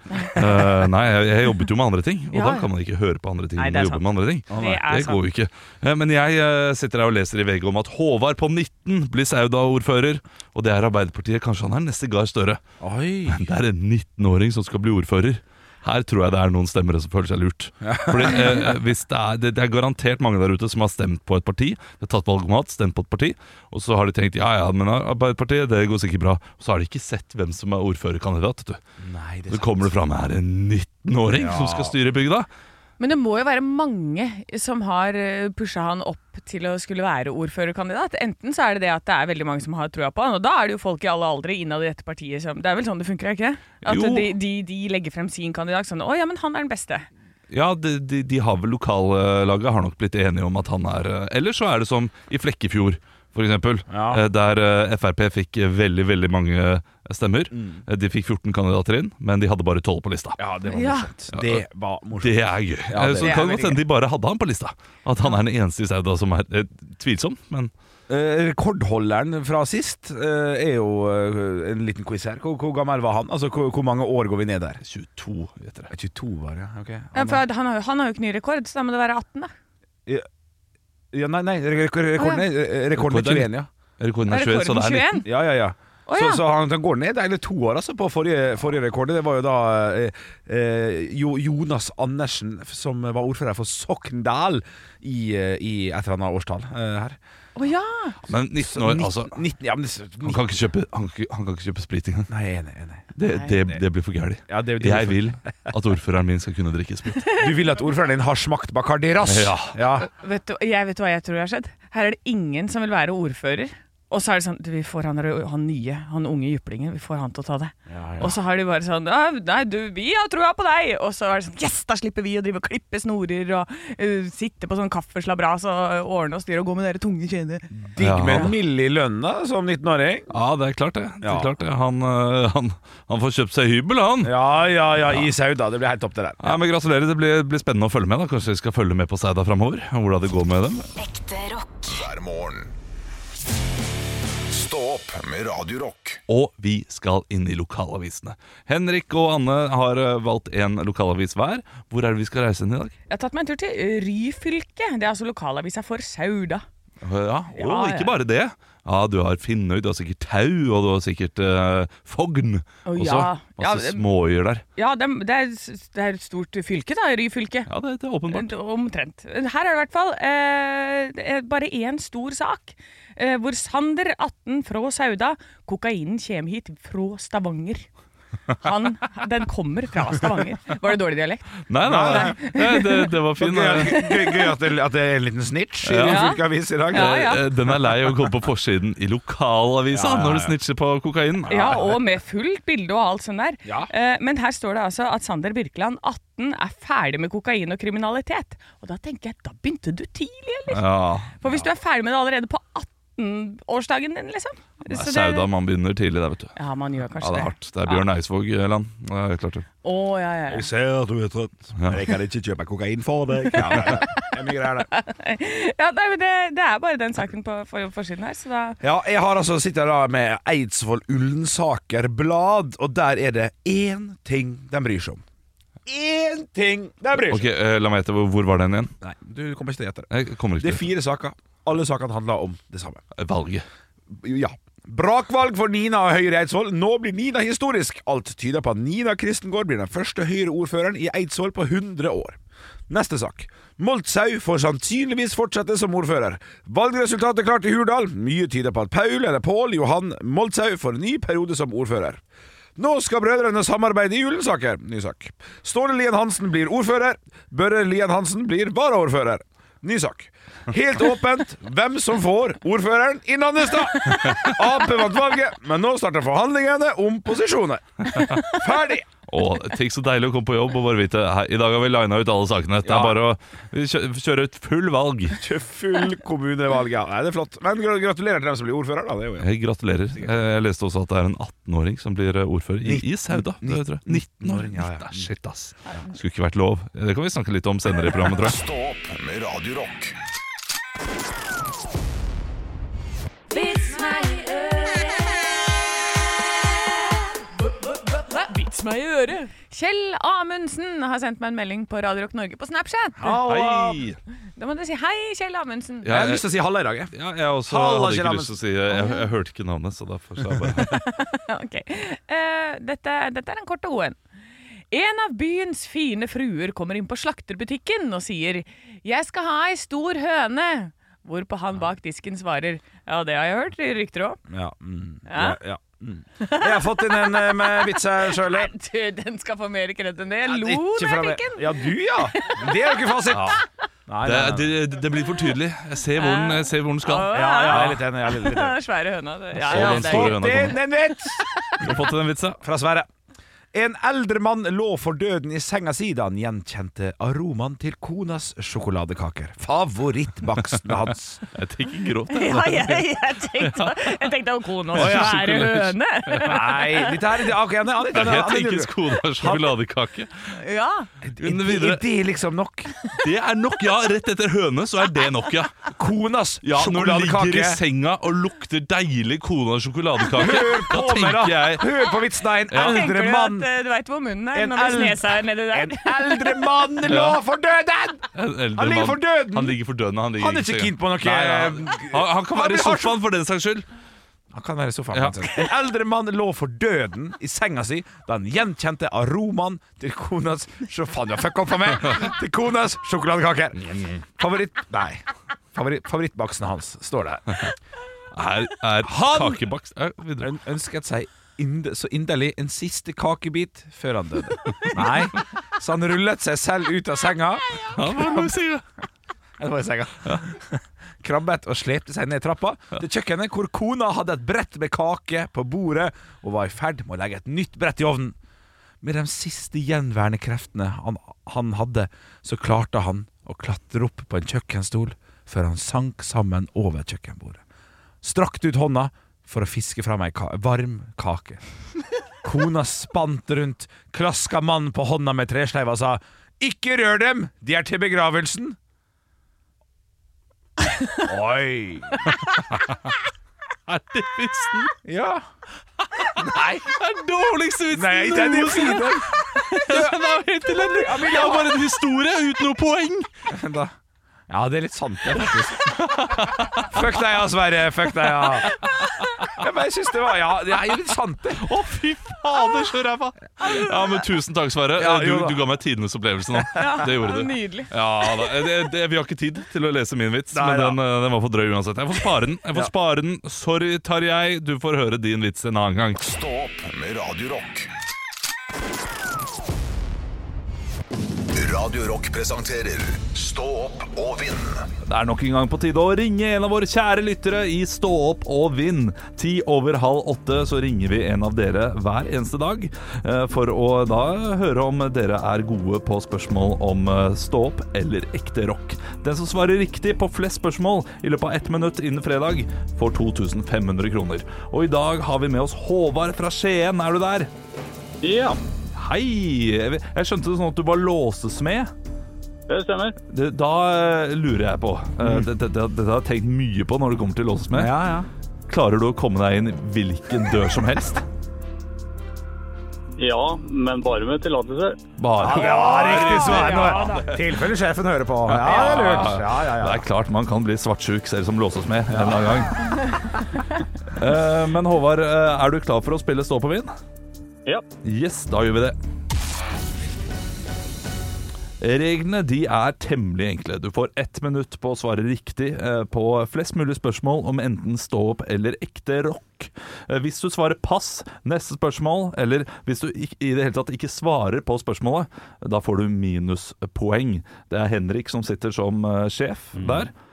Eh, nei, jeg, jeg jobbet jo med andre ting, og Ja, da ja. kan man ikke høre på andre ting. Nei, når det er man jobber med andre ting. Det er Det går jo ikke. Eh, Men jeg eh, sitter her og leser i VG om at Håvard på 19 blir Sauda-ordfører. Og det er Arbeiderpartiet. Kanskje han er neste Gahr Støre. Oi. Men det er en 19-åring som skal bli ordfører. Her tror jeg det er noen stemmere som føler seg lurt. Fordi, eh, hvis det, er, det, det er garantert mange der ute som har stemt på et parti. De har tatt valgomat, stemt på et parti, og så har de tenkt ja ja, men Arbeiderpartiet, det går sikkert bra. Og så har de ikke sett hvem som er ordførerkandidat. vet Du. Nei, det Så kommer det fram her en 19-åring som skal styre bygda. Men det må jo være mange som har pusha han opp til å skulle være ordførerkandidat. Enten så er det det at det er veldig mange som har trua på han, og da er det jo folk i alle aldre innad i dette partiet som Det er vel sånn det funker, er ikke det? At Jo. de, de, de legger frem sin kandidat sånn Å ja, men han er den beste. Ja, de, de, de har vel lokallaget har nok blitt enige om at han er eh, Eller så er det som i Flekkefjord, for eksempel. Ja. eh, Der eh, Frp fikk eh, veldig, veldig mange eh, stemmer. Eh, De fikk 14 kandidater inn, men de hadde bare 12 på lista. Mm. Ja, det var Ja. morsomt. Det var morsomt. Det er gøy. Ja, Eh, det- så det det er kan veldig godt hende de bare hadde han på lista. At han er den eneste i Sauda som er eh, tvilsom, men Eh, rekordholderen fra sist eh, er jo eh, en liten quiz her. Hvor, hvor gammel var han? Altså, hvor, hvor mange år går vi ned der? 22, gjetter jeg. 22 var det, ok. Ja, for han, har, jo- han har jo ikke ny rekord, så da må det være 18, da. Ja, nei, nei, rekorden, rekorden, er- rekorden er Rekorden er 21, ja. Rekorden Det er 21, er så rekorden det er 19. 21. Ja, ja, ja. Å, ja. så, så han den går ned hele to år altså, på forrige, forrige rekord. Det var jo da eh, eh, jo, Jonas Andersen, f- som var ordfører for Sokndal i, eh, i et eller annet årstall eh, her. Å ja! Men 19 år, altså. 19, ja, men, det- Han kan ikke kjøpe, han, kan ikke- han kan ikke kjøpe sprit engang. Nei, jeg er enig, jeg er enig. Det, Nei. det, det blir for gærlig. Ja, det- det blir Jeg for- vil at ordføreren min skal kunne drikke sprit. Du vil at ordføreren din har smakt Bacardi Rass? Ja. Vet du, jeg vet hva jeg tror har skjedd. Her er det ingen som vil være ordfører. Og så er det sånn du, Vi får han, der- han nye, han unge jyplingen, vi får han til å ta det. Ja, ja. Og så har de bare sånn «Ja, Nei, du, vi har trua på deg! Og så er det sånn Yes, da slipper vi å drive og klippe snorer og eh, sitte på sånn kaffeslabras og øh, ordne og styre og gå med dere tunge kjener. Digg med en mill i lønna som 19-åring. Ja, det er klart det. det, er klart det. Han, øh, han, han får kjøpt seg hybel, han. Ja, ja, ja, i Sauda. Det blir helt topp, det der. Nei, men Gratulerer. Det blir, blir spennende å følge med. da Kanskje vi skal følge med på Seida framover. Hvordan det går med dem. Ekte rock. hver morgen. Stå opp med Radio Rock. Og vi skal inn i lokalavisene. Henrik og Anne har øh, valgt én lokalavis hver. Hvor er det vi skal reise inn i dag? Jeg har tatt meg en tur til Ryfylke. Det er altså lokalavisa for Sauda. Ja, å, Ja, ja. ikke bare det. Ja, Du har Finnøy, du har sikkert Tau, og du har sikkert øh, Fogn Å, også. ja. Ja, Masse det- småyer der. Ja, det, det, er, det er et stort fylke, da. Ryfylke. Ja, det, er Eh, åpenbart. Omtrent. Her er det i hvert fall eh, det er bare én stor sak. Eh, hvor Sander, 18, fra Sauda Kokainen kommer hit fra Stavanger. Han, den kommer fra Stavanger. Var det dårlig dialekt? Nei, nei, nei. Nei, det, det var fin. eh, Gøy, gøy, gøy at, det, at det er en liten snitch i Ja. Ryfylke avis i dag. Eh, eh, Den er lei å gå på forsiden i lokalavisa Ja, ja, ja. når du snitcher på kokainen. Ja, og med fullt bilde og alt sånt der. Ja. Eh, men her står det altså at Sander Birkeland, 18, er ferdig med kokain og kriminalitet. Og da tenker jeg, da begynte du tidlig, eller? Ja. For hvis du er ferdig med det allerede på 18-årsdagen din, liksom Det så er det- Sauda man begynner tidlig der, vet du. Ja, man gjør kanskje Ja, det er det. hardt. Det er Bjørn Eidsvåg-land. Ja, det er klart det. Å, ja, ja, ja. ser at du er trøtt, men jeg kan ikke kjøpe kokain for deg. Ja, ja, ja. Det er mye greier, det. ja nei, men det, det er bare den saken på for- forsiden her, så da Ja, jeg har altså sitter da med Eidsvoll Ullensaker Blad, og der er det én ting de bryr seg om. Én ting de bryr Ok, seg om! eh, La meg gjette, hvor- hvor var den igjen? Nei, du kommer ikke til å gjette det. Jeg kommer Det ikke er til fire saker. Alle sakene handler om det samme. Valget. Ja. Brakvalg for Nina og Høyre i Eidsvoll. Nå blir Nina historisk. Alt tyder på at Nina Kristengård blir den første Høyre-ordføreren i Eidsvoll på 100 år. Neste sak. Moltsau får sannsynligvis fortsette som ordfører. Valgresultatet klart i Hurdal. Mye tyder på at Paul eller Pål Johan Moltsau får en ny periode som ordfører. Nå skal brødrene samarbeide i Ullensaker. Ny sak. Ståle Lien Hansen blir ordfører. Børre Lien Hansen blir varaordfører. Ny sak. Helt åpent hvem som får ordføreren i Nannestad. Ap vant valget, men nå starter forhandlingene om posisjoner. Ferdig! Å, tenk så deilig å komme på jobb og bare vite Hei, I dag har vi lina ut alle sakene. Det er Ja. bare å kjø- kjøre ut full valg. Til full kommunevalg, ja. Nei, det er flott. Men gra- gratulerer til dem som blir ordfører, da. Det er jo Jeg gratulerer. Eh, Jeg leste også at det er en 18-åring som blir eh, ordfører i, i Sauda. det tror jeg. 19-åring. Ja, ja. Shit, ass. Skulle ikke vært lov. Eh, Det kan vi snakke litt om senere i programmet, tror jeg. Stå opp med Radio Rock. Vits meg i Vits meg i øret! Kjell Amundsen har sendt meg en melding på Radio Rock Norge på Snapchat. Hei! Da må du si hei, Kjell Amundsen. Ja, Jeg har lyst til å si halla i dag, jeg. Ja, jeg også Halla, hadde ikke Kjell lyst til å si Jeg, jeg hørte ikke navnet, så derfor sa jeg bare Ok. Eh, dette, dette er en kort og god en. En av byens fine fruer kommer inn på slakterbutikken og sier 'Jeg skal ha ei stor høne', hvorpå han bak disken svarer 'Ja, det har jeg hørt rykter om'. Ja. Mm, Ja? ja, ja. Mm. Jeg har fått inn en eh, med vits her sjøl. Nei, du, den skal få mer kred enn det. Jeg lo da jeg fikk den. Ja, du, ja. Det er jo ikke fasit. Nei, det, nei, nei. det, det blir for tydelig. Jeg ser hvor den, jeg ser hvor den skal. Ja, ja, jeg er litt enig. Jeg er litt, litt enig. Den svære høna. det- Ja, Så ja, den det er store greit. høna kommer. en vits! Du har fått den vitsa. Fra Sverre. En eldre mann lå for døden i senga si da han gjenkjente aromaen til konas sjokoladekaker. Favorittbaksten hans. Jeg tenker gråt. jeg, Ja, altså. jeg, jeg tenkte Jeg tenkte om kona Å, ja. svære høne. Nei, dette her er okay, han er- han er- han er- Jeg han er- tenker skole og sjokoladekake. Ja. Men Er videre. det- Er det liksom nok? Det er nok, ja. Rett etter høne, så er det nok, ja. Konas Ja, Når du ligger i sjokoladekake. senga og lukter deilig kona sjokoladekake, da På tenker meg, da. jeg Hør på vitsen, da. En Ja. Tenker eldre du at mann eh, du veit hvor munnen er En når man eld- snesa er nedi der? En eldre mann lå for døden! en eldre Han ligger mann- for døden. Han ligger for døden. Han, ligger Han er i ikke senga. keen på noe- eh, Nei, nei, han, han kan Han være i blir- sofaen for den saks skyld. Han kan være i sofaen. Ja. kanskje. En eldre mann lå for døden i senga si da han gjenkjente aromaen til konas Så faen, du har fucka opp for meg! Til konas sjokoladekaker. Favoritt... Nei. Favoritt, favorittbaksten hans, står det. Er, han kakebakst øn ønsket seg ind så inderlig en siste kakebit før han døde. Nei, så han rullet seg selv ut av senga. Ja, det var i senga. Ja, det var i senga. Krabbet og slepte seg ned trappa til kjøkkenet, hvor kona hadde et brett med kake på bordet og var i ferd med å legge et nytt brett i ovnen. Med de siste gjenværende kreftene han, han hadde, så klarte han å klatre opp på en kjøkkenstol før han sank sammen over kjøkkenbordet. Strakte ut hånda for å fiske fram ei ka varm kake. Kona spant rundt, klaska mannen på hånda med tresleiva og sa 'Ikke rør dem, de er til begravelsen'. Oi! Er det vitsen? Ja. Nei. Det er dårligste vitsen Nei, den er fin, den. Den er helt elendig. Det er bare en historie uten noe poeng. Da. Ja, det er litt sant, det, faktisk. Fuck deg, ja, Sverre. Fuck deg, ja. Ja, men jeg synes det var Ja, det er jo litt sant, det. Å, fy fader, så ræva. Ja, men Tusen takk, Sverre. Ja, du, jo da. du ga meg tidenes opplevelse nå. Ja, Det gjorde du. nydelig. Ja, da. Eh, Det, det, vi har ikke tid til å lese min vits, Nei, men da. den, eh, den var for drøy uansett. Jeg får spare den. Jeg får Ja. spare den. Sorry, Tarjei. Du får høre din vits en annen gang. Stå opp med Radio Rock. Radio Rock presenterer Stå opp og vinn. Det er nok en gang på tide å ringe en av våre kjære lyttere i Stå opp og vinn. Ti over halv åtte så ringer vi en av dere hver eneste dag eh, for å da høre om dere er gode på spørsmål om eh, stå opp eller ekte rock. Den som svarer riktig på flest spørsmål i løpet av ett minutt innen fredag, får 2500 kroner. Og i dag har vi med oss Håvard fra Skien. Er du der? Ja. Hei. Jeg jeg skjønte det sånn at du var låsesmed. Det stemmer. Det, da eh, lurer jeg på. Eh, Dette dette- dette har jeg tenkt mye på når det kommer til låsesmed. Klarer du å komme deg inn hvilken dør som helst? Ja, men bare med tillatelse. Bare. Tilfelle sjefen hører på. Ja, det er lurt. Ja, ja, ja. Det er klart man kan bli svartsjuk selv som låsesmed en eller annen gang. Eh, Men Håvard, eh, er du klar for å spille Stå på vind? Ja. Yes, da gjør vi det. Reglene de er temmelig enkle. Du får ett minutt på å svare riktig eh, på flest mulig spørsmål om enten stå-opp eller ekte rock. Eh, Hvis du svarer pass neste spørsmål, eller hvis du ik- i det hele tatt ikke svarer på spørsmålet, da får du minuspoeng. Det er Henrik som sitter som eh, sjef der. Eh,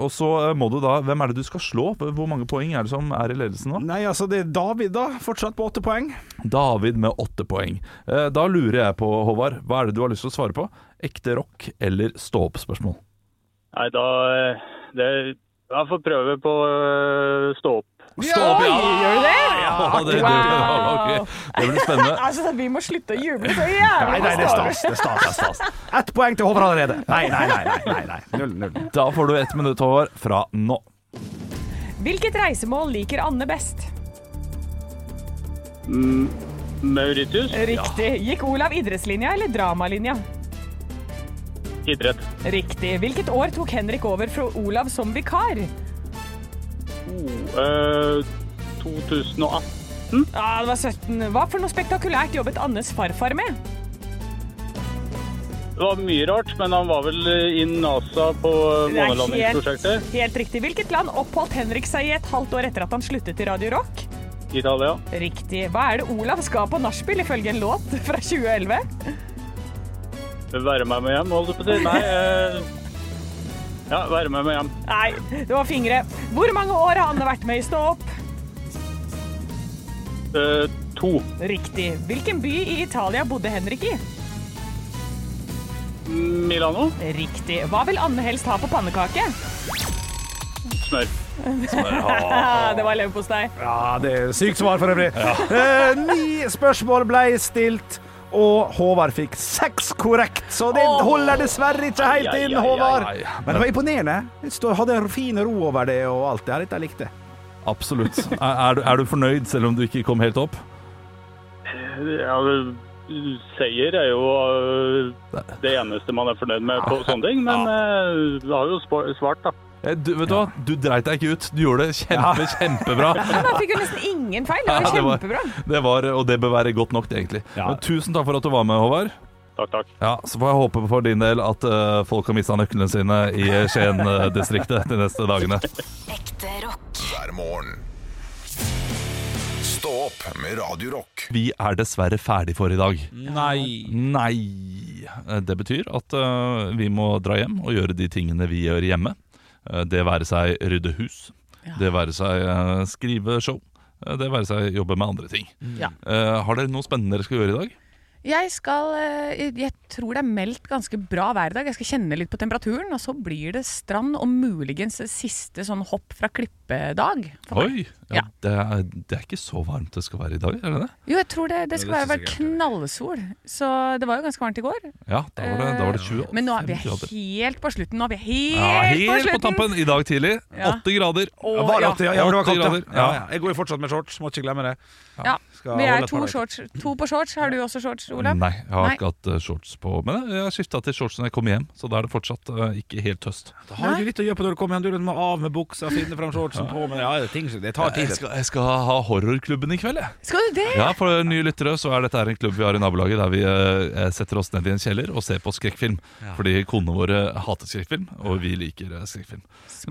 og så eh, må du da Hvem er det du skal slå? Hvor mange poeng er det som er i ledelsen nå? Nei, altså, det er David, da. Fortsatt på åtte poeng. David med åtte poeng. Eh, Da lurer jeg på, Håvard, hva er det du har lyst til å svare på? Ekte rock eller stå-opp-spørsmål? Nei, da eh, det, Jeg får prøve på eh, stå opp. Stå opp, ja! Gjør du det? Ja, det, det, ja, ok. det blir spennende. Altså, vi må slutte å juble så jævlig. Nei, nei, det er stas. Det er stas. Det er stas. Ett poeng til Håvard allerede. Nei, nei, nei. nei, nei, nei. Null, null. Da får du ett minutt, Håvard, fra nå. Hvilket reisemål liker Anne best? Mm, Mauritius? Riktig. Gikk Olav idrettslinja eller dramalinja? Ja, idrett. Riktig. Hvilket år tok Henrik over fra Olav som vikar? Oh, eh, 2018. Ja, det var 17. Hva for noe spektakulært jobbet Annes farfar med? Det var mye rart, men han var vel eh, i NASA på eh, Det er månelandingsprosjektet. helt riktig. Hvilket land oppholdt Henrik seg i et halvt år etter at han sluttet i Radio Rock? Italia. Riktig. Hva er det Olav skal på nachspiel, ifølge en låt fra 2011? Være meg med hjem, holdt jeg på å si. Nei eh, Ja, være meg med hjem. Nei, det var fingre. Hvor mange år har Anne vært med i Stå opp? Eh, to. Riktig. Hvilken by i Italia bodde Henrik i? Milano? Riktig. Hva vil Anne helst ha på pannekake? Smør. det var leverpostei. Ja, det er sykt svar for øvrig. Eh, ni spørsmål ble stilt, og Håvard fikk seks korrekt. Så det holder dessverre ikke helt Ai, ai, inn, ai, Håvard. ai, ai. Men det var imponerende. Det stod- hadde en fin ro over det og alt. Det her dette jeg likte. Absolutt. Er, er, du, er du fornøyd, selv om du ikke kom helt opp? Ja, det- seier er jo øh, det eneste man er fornøyd med på sånne ting, men øh, du har jo spo- svart, da. Eh, Du, vet du hva? Du dreit deg ikke ut. Du gjorde det kjempe, kjempebra. Men han fikk jo nesten ingen feil. Det Ja, var det jo var- kjempebra. Det var, og det bør være godt nok, det, egentlig. Men tusen takk for at du var med, Håvard. Takk, takk. Ja, Så får jeg håpe for din del at eh, folk har mista nøklene sine i Skien-distriktet de neste dagene. Ekte rock. Hver morgen. Stå opp med Radio Rock. Vi er dessverre ferdig for i dag. Nei. Nei. Eh, Det betyr at eh, vi må dra hjem og gjøre de tingene vi gjør hjemme. Eh, Det være seg rydde hus, det være seg eh, skrive show, eh, det være seg jobbe med andre ting. Ja. Eh, Har dere noe spennende dere skal gjøre i dag? Jeg skal eh, Jeg tror det er meldt ganske bra vær i dag. Jeg skal kjenne litt på temperaturen, og så blir det strand og muligens siste sånn hopp fra klippedag. for Oi! meg. Ja, Det, er, det er ikke så varmt det skal være i dag, er det det? Jo, jeg tror det, det skal Ja, være, det være knallsol. Så det var jo ganske varmt i går. Ja, da var det, da var det Eh, 20 Men nå er vi 25 grader. helt på slutten. Nå er vi helt, Ja, på helt på slutten. tampen i dag tidlig. Ja. 8 grader. Å, Ja, bare ja. at det- ja, for det var Åtti kaldt, grader, ja. Ja, ja. ja. Jeg går jo fortsatt med shorts, må ikke glemme det. Ja, Skal Vi er holde et par to, dager. shorts, to på shorts. Har du også shorts, Olav? Nei, jeg har ikke hatt eh, shorts på Men jeg har skifta til shorts når jeg kom hjem, så da er det fortsatt eh, ikke helt høst. Da har du litt å gjøre på når du kommer hjem. Du må av med buksa, finne fram shortsen på Men ja, det, er ting, som- det tar tid. Jeg skal, jeg skal ha horrorklubben i kveld, jeg. Skal du det? Ja, For nye lyttere så er dette her en klubb vi har i nabolaget der vi eh, setter oss ned i en kjeller og ser på skrekkfilm. Ja. Fordi konene våre hater skrekkfilm, og vi liker eh, skrekkfilm.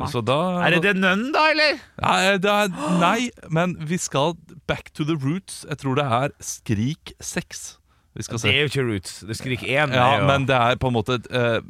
Så da Er det The Nun, da, eller? Nei, eh, det er, nei, men vi skal back to the roots. Jeg tror det er Skrik 6. Vi skal se. Det er jo ikke Roots. Det Skrik 1. Ja, er jo- men det er på en måte eh,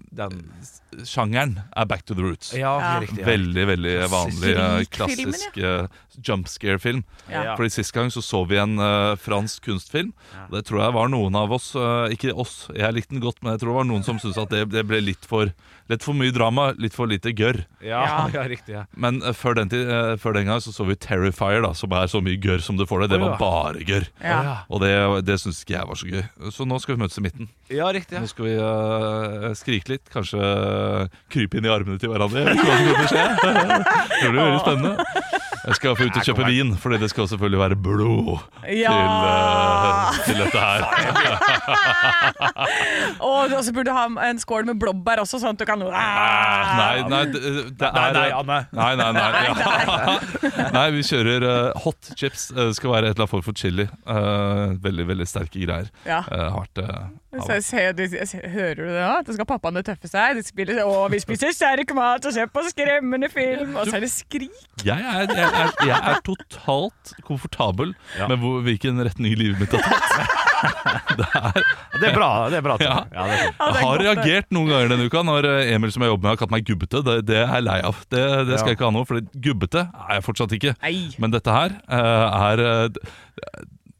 s- Sjangeren er back to the roots. Ja, det er Ja. riktig, ja. Veldig veldig vanlig, eh, Skrik-filmen, klassisk jump scare-film. Ja. Fordi Sist gang så så vi en eh, fransk kunstfilm. Og Det tror jeg var noen av oss eh, Ikke oss, jeg likte den godt, men jeg tror det var noen som syntes at det, det ble litt for, litt for mye drama, litt for lite gørr. Ja, ja, riktig. Ja. Men eh, før, den tid, eh, før den gang så så vi Terrifier, da, som er så mye gørr som du får det. Det Å, var ja. bare gørr. Ja. Og det, det syns ikke jeg var så gøy. Så nå skal vi møtes i midten. Ja, riktig, ja. Nå skal vi eh, skrike litt, kanskje eh, krype inn i armene til hverandre. Jeg vet ikke hva som kommer til å skje. Det blir veldig spennende. Jeg skal få ut og kjøpe vin, Fordi det skal selvfølgelig være blod Ja. til, eh, til dette her. Og og så burde du ha en skål med blåbær også, sånn at du kan Ah, Ah. Nei, nei, det, det er Nei, nei, Anne. Nei, nei, nei, ja. nei vi kjører eh, hot chips. Eh, Det skal være et eller annet form for chili. Eh, veldig, veldig sterke greier. Ja. Eh, hardt, eh, Så jeg ser, du, jeg ser, hører du det nå? At det skal pappaene tøffe seg? De spiller, å, vi spiser sterk mat og ser på skremmende film! Og så er det skrik! Jeg er, jeg, er, jeg er totalt komfortabel med hvor, hvilken retning livet mitt har tatt. Det er, Det er bra, det er bra, Tom. Ja. Ja, det er fint. Jeg har reagert noen ganger denne uka når eh, Emil som jeg jobber med har kalt meg gubbete. Det, det er jeg lei av. Det, det skal jeg ikke ha noe, for gubbete er jeg fortsatt ikke. Men dette her eh, er eh,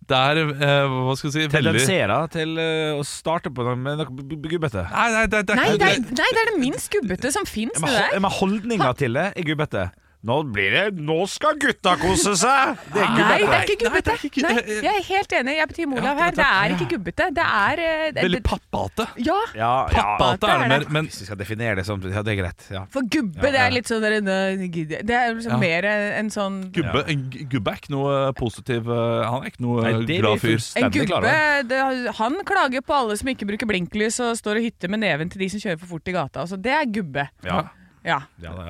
Det er eh, Hva skal jeg si Tendenserer til eh, å starte på noe med noe bu- bu- gubbete. Nei, nei, det, Nei, det er, nei, det er det minst gubbete som fins, Men, det hol- der. men holdninga til det er gubbete. Nå blir det Nå skal gutta kose seg! Det er Ah, Nei, det gubbete. er ikke gubbete. Nei, jeg er helt enig. Jeg betyr Olav her. Det er ikke gubbete. Det er eh, det- Veldig pappate. Ja. Ja, ja. Pappate er det mer, Hvis vi skal definere det som Ja, det er greit. Ja. For gubbe, Ja, det ja. er litt sånn der, «Nei, gidder jeg». Det er liksom Ja. mer en sånn Gubbe, en gu- gubbe er ikke noe positiv eh, Han er ikke noe Nei, det er glad vi fyr. En gubbe det, han klager på alle som ikke bruker blinklys og står og hytter med neven til de som kjører for fort i gata. Altså, det er gubbe. Ja. Ja.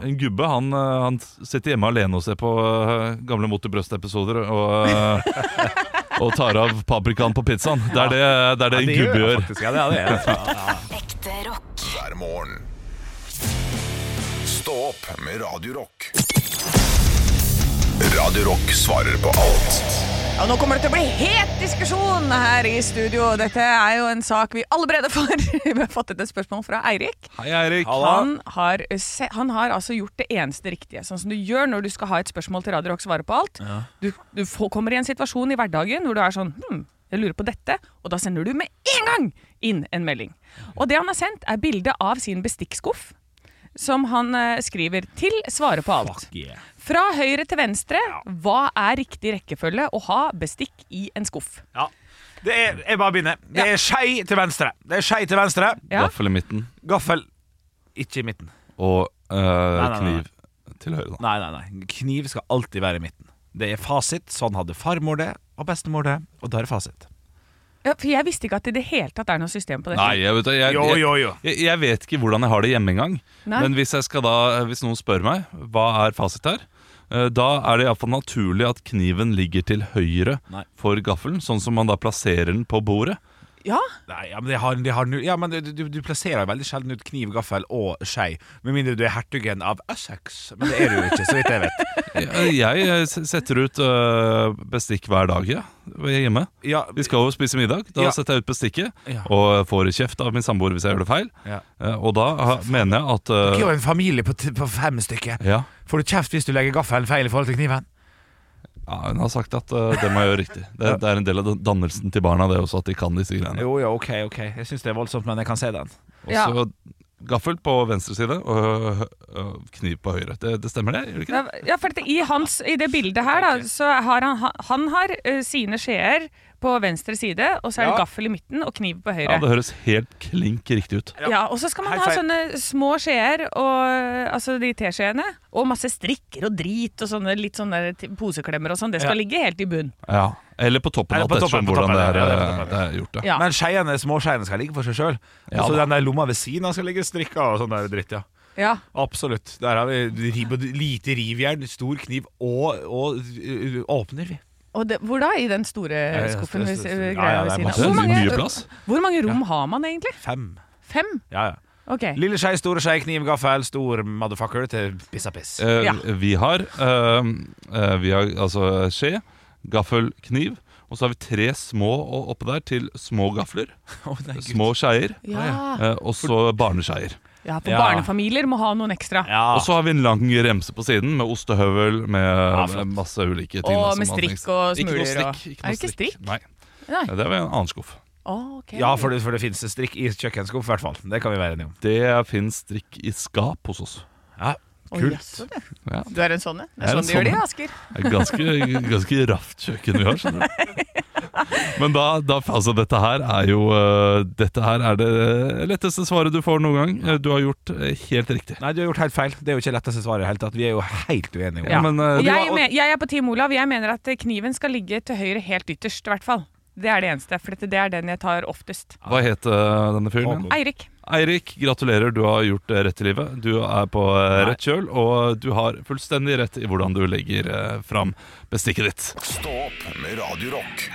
En gubbe han, eh, han sitter hjemme alene og ser på eh, gamle Mot i brøstet-episoder og, eh, og tar av paprikaen på pizzaen. Det er det, det, er det Ja, en det gjør gubbe jeg gjør. faktisk, ja, det er det. Ja, Ekte rock. Hver morgen. Stå opp med Radio Rock. Radio Rock svarer på alt. Ja, nå kommer det til å bli het diskusjon her i studio. Dette er jo en sak vi alle bredde for. vi har fått et spørsmål fra Eirik. Hei, Eirik. Han har, se, han har altså gjort det eneste riktige. Sånn som du gjør når du skal ha et spørsmål til Radio Rock svarer på alt. Ja. Du, du får, kommer i en situasjon i hverdagen hvor du er sånn hm, jeg lurer på dette, og da sender du med en gang inn en melding. Og det han har sendt, er bilde av sin bestikkskuff, som han eh, skriver til svarer på alt. Fra høyre til venstre, hva er riktig rekkefølge å ha bestikk i en skuff? Ja. Det er, jeg bare begynner. Det er skei til venstre. Det er skei til venstre. Ja. Gaffel i midten Gaffel ikke i midten. og eh, nei, nei. kniv til høyre. Nei, nei, nei. Kniv skal alltid være i midten. Det er fasit. Sånn hadde farmor det, og bestemor det, og da er det fasit. Ja, for jeg visste ikke at det i det hele tatt er noe system på dette. Nei, jeg vet, jeg, jeg, Jo, jo, Jeg, jeg vet ikke hvordan jeg har det hjemme engang. Nei. Men hvis, jeg skal da, hvis noen spør meg hva er fasit her, eh, da er det iallfall naturlig at kniven ligger til høyre for gaffelen, sånn som man da plasserer den på bordet. Ja? Nei, ja, men, det har, det har, nu- ja, men du, du, du plasserer veldig sjelden ut kniv, gaffel og skei, med mindre du er hertugen av Essex. Men det er du jo ikke, så vidt jeg vet. Jeg, jeg s- setter ut eh, bestikk hver dag ja, hjemme. Ja. Vi skal jo spise middag. Da Ja. setter jeg ut bestikket, Ja. og får kjeft av min samboer hvis jeg gjør det feil. Ja. Eh, Og da ha- mener jeg at Dere er jo eh, en familie på, t- på fem stykker. Ja. Får du kjeft hvis du legger gaffelen feil i forhold til kniven? ja, Hun har sagt at eh, det må jeg gjøre riktig. Det, det er en del av dannelsen til barna, det også, at de kan disse greiene. Jo, ja, ok, ok. Jeg syns det er voldsomt, men jeg kan se den. Og så gaffel på venstre side og øh, kniv på høyre. Det, det stemmer det? Gjør det ikke det? Ja, for at i, hans, I det bildet her, da, så har han, han har eh, sine skjeer på venstre side, og så er det Ja. gaffel i midten og kniv på høyre. Ja, det høres helt klink riktig ut. Ja, og så skal man High ha five. sånne små skjeer, og, altså de teskjeene, og masse strikker og drit og sånne litt sånne t- poseklemmer og sånn. Det skal Ja. ligge helt i bunn. Ja. Eller på toppen, Eller alt på ettersom toppen, på hvordan toppen, det er, ja, det er på øh, toppen. det er gjort. Ja. Ja. Men skeiene, småskeiene skal ligge for seg sjøl. Ja og så da. den der lomma ved siden av skal ligge strikka og sånn der dritt, ja. Ja. Absolutt. Der har vi riv, lite rivjern, stor kniv og, og ø, ø, åpner, vi. Og det, hvor da? I den store ja, skuffen? ja, hvis- ja, eh, ja, greia ved det siden er av. masse. Hvor mange- Mye plass. Hvor mange rom har man egentlig? Fem. Fem? Ja, ja. Ok. Lille skei, store skei, kniv, gaffel, stor motherfucker til pissa piss. Eh, Vi har, øh, øh, vi har altså skje, gaffel, kniv. Og så har vi tre små og oppå der til små gafler. nei, Gud. små skeier. Ja. eh, Og så barneskeier. Ja, for barnefamilier må ha noen ekstra. Ah. Og så har vi en lang remse på siden med ostehøvel med Ah, med masse ulike ting. da, Og som med man strikk trenger. og Ikke noe smuler og- strikk. Er det ikke strikk? Nei. Nei. Det var en annen skuff. Ok. Ja, for det, for det finnes strikk i kjøkkenskuff, i hvert fall. Det kan vi være enige om. Det finnes strikk i skap hos oss. Ja, Å, jaså, det. Du er en sånn, ja. Det er Jeg sånn de gjør en det i sånn. Asker. Det er Ganske, ganske raft kjøkken vi har, skjønner du. Men da, da altså dette her er jo eh, Dette her er det letteste svaret du får noen gang. Eh, Du har gjort eh, helt riktig. Nei, du har gjort helt feil. Det er jo ikke letteste svaret i det hele tatt. Vi er jo helt uenige. om det. Ja, men, eh, Og du Jeg, har- og- me- jeg er på Team Olav. Jeg mener at eh, kniven skal ligge til høyre helt ytterst, i hvert fall. Det er det eneste, for dette- det er den jeg tar oftest. Hva het eh, denne fyren? igjen? Eirik. Eirik, gratulerer. Du har gjort det rett i livet. Du er på eh, rett kjøl, og du har fullstendig rett i hvordan du legger eh, fram bestikket ditt. Stå opp med Radio Rock.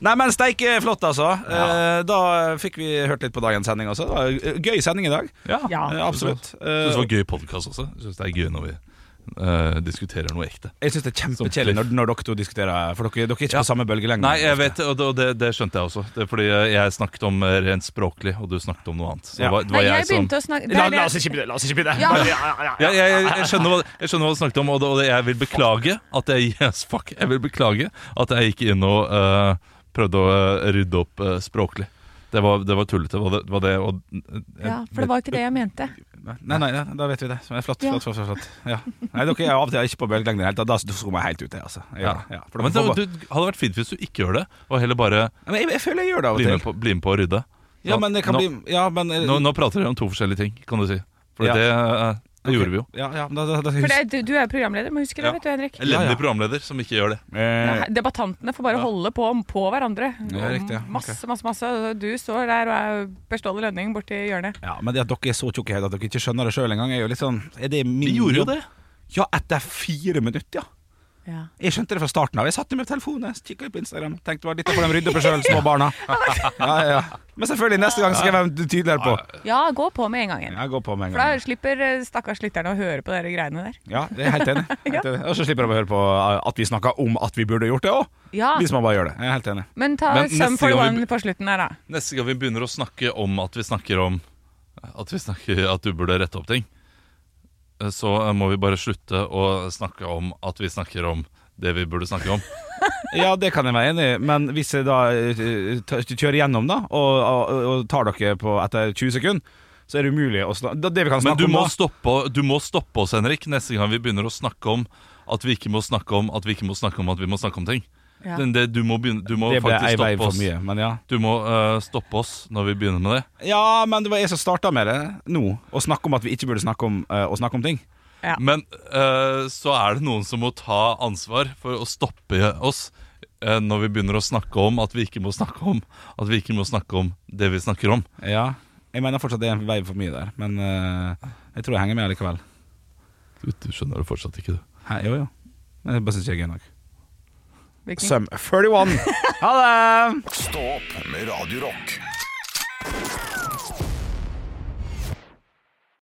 Nei, men steike flott, altså. Eh, Da fikk vi hørt litt på dagens sending også. Det var en gøy sending i dag. Ja. Eh, Absolutt. Jeg syns det var gøy podkast også. Jeg synes det er gøy når vi eh, diskuterer noe ekte. Jeg syns det er kjempekjedelig når, når dere to diskuterer, for dere, dere er ikke på samme bølgelengde. Nei, jeg vet, og det, og det, det skjønte jeg også. Det er fordi jeg snakket om eh, rent språklig, og du snakket om noe annet. Så det var, det var Nei, jeg som- begynte å snakke det La, er det- la oss ikke begynne. La oss ikke begynne. Ja. Bare- ja, ja, Ja, jeg, jeg, jeg, skjønner hva, jeg skjønner hva du snakket om, og, det, og det, jeg vil beklage at jeg, yes, fuck, jeg vil beklage at jeg gikk inn og eh, prøvde å eh, rydde opp eh, språklig. Det var, det var tullete. Var det, var det, og, eh, Ja, for det var ikke det jeg mente. Nei, nei, nei, da vet vi det. Så det er flott, Ja. flott, flott, flott, flott. Ja. Nei, dere er av og til ikke på bølgelengde i det hele tatt. Da skulle jeg helt ut, jeg, altså. Jeg ja. gjør det, ja. For Men det, dere får du, hadde vært fint hvis du ikke gjør det, og heller bare bare- Men jeg, jeg føler jeg gjør det av og bli til. med på, bli med på å rydde. Ja, Nå- men det kan nå, bli ja, men, nå, nå prater dere om to forskjellige ting, kan du si. For Ja. det, eh, det gjorde vi jo. Ja, ja, men da, da, da, For det, er- du, du er jo programleder, må huske det, vet du, Henrik. Elendig programleder som ikke gjør det. Eh, Nei, Debattantene får bare holde på om på hverandre. Ja, riktig, ja. Masse, masse, masse. og Du står der og er Per Ståle Lønning borti hjørnet. Ja, men det at dere er så tjukke i hodet at dere ikke skjønner det sjøl engang, er jo litt sånn er det min Vi gjorde jo jobb? det. Ja, etter fire minutter, ja. Ja. Jeg skjønte det fra starten av. Jeg satt med telefonen, kikka på Instagram. Tenkte bare dette får de rydde opp i sjøl, små barna. Ja, ja. Men selvfølgelig, neste gang skal jeg være tydeligere på. ja, gå på med en gang igjen. Jeg går på med en For gang. da slipper eh, stakkars lytterne å høre på dere greiene der. Ja, det er helt enig. Helt enig. Og så slipper de å høre på eh, at vi snakker om at vi burde gjort det òg. Ah. Ja. Hvis man bare gjør det. Jeg er helt enig. Men ta Men Sum neste for gang vi One på slutten her, da. Neste gang vi begynner å snakke om at vi snakker om at, vi snakker, at du burde rette opp ting, eh, så må vi bare slutte å snakke om at vi snakker om det vi burde snakke om. Ja, det kan jeg være enig i, men hvis jeg da eh, ta- kjører gjennom da og, og, og tar dere på etter 20 sekunder, så er det umulig å snakke Det vi kan Men snakke du om må, da stoppe, du må stoppe oss, Henrik, neste gang vi begynner å snakke om at vi ikke må snakke om at vi ikke må snakke om at vi må snakke om ting. Ja. Den- Det, du må, begynne, du må Det ble ei faktisk vei stoppe for oss. mye, men ja. Du må eh, stoppe oss når vi begynner med det. Ja, men det var jeg som starta med det nå. Å snakke om at vi ikke burde snakke om eh, å snakke om ting. Ja. Men eh, så er det noen som må ta ansvar for å stoppe oss eh, når vi begynner å snakke om at vi ikke må snakke om At vi ikke må snakke om det vi snakker om. Ja, jeg mener fortsatt det er en vei for mye der, men eh, jeg tror jeg henger med likevel. Du, du skjønner det fortsatt ikke, du. Hæ, jo, jo. Men Jeg bare syns ikke det er gøy nok. Sum 31. Ha det! Stå opp med Radio Rock.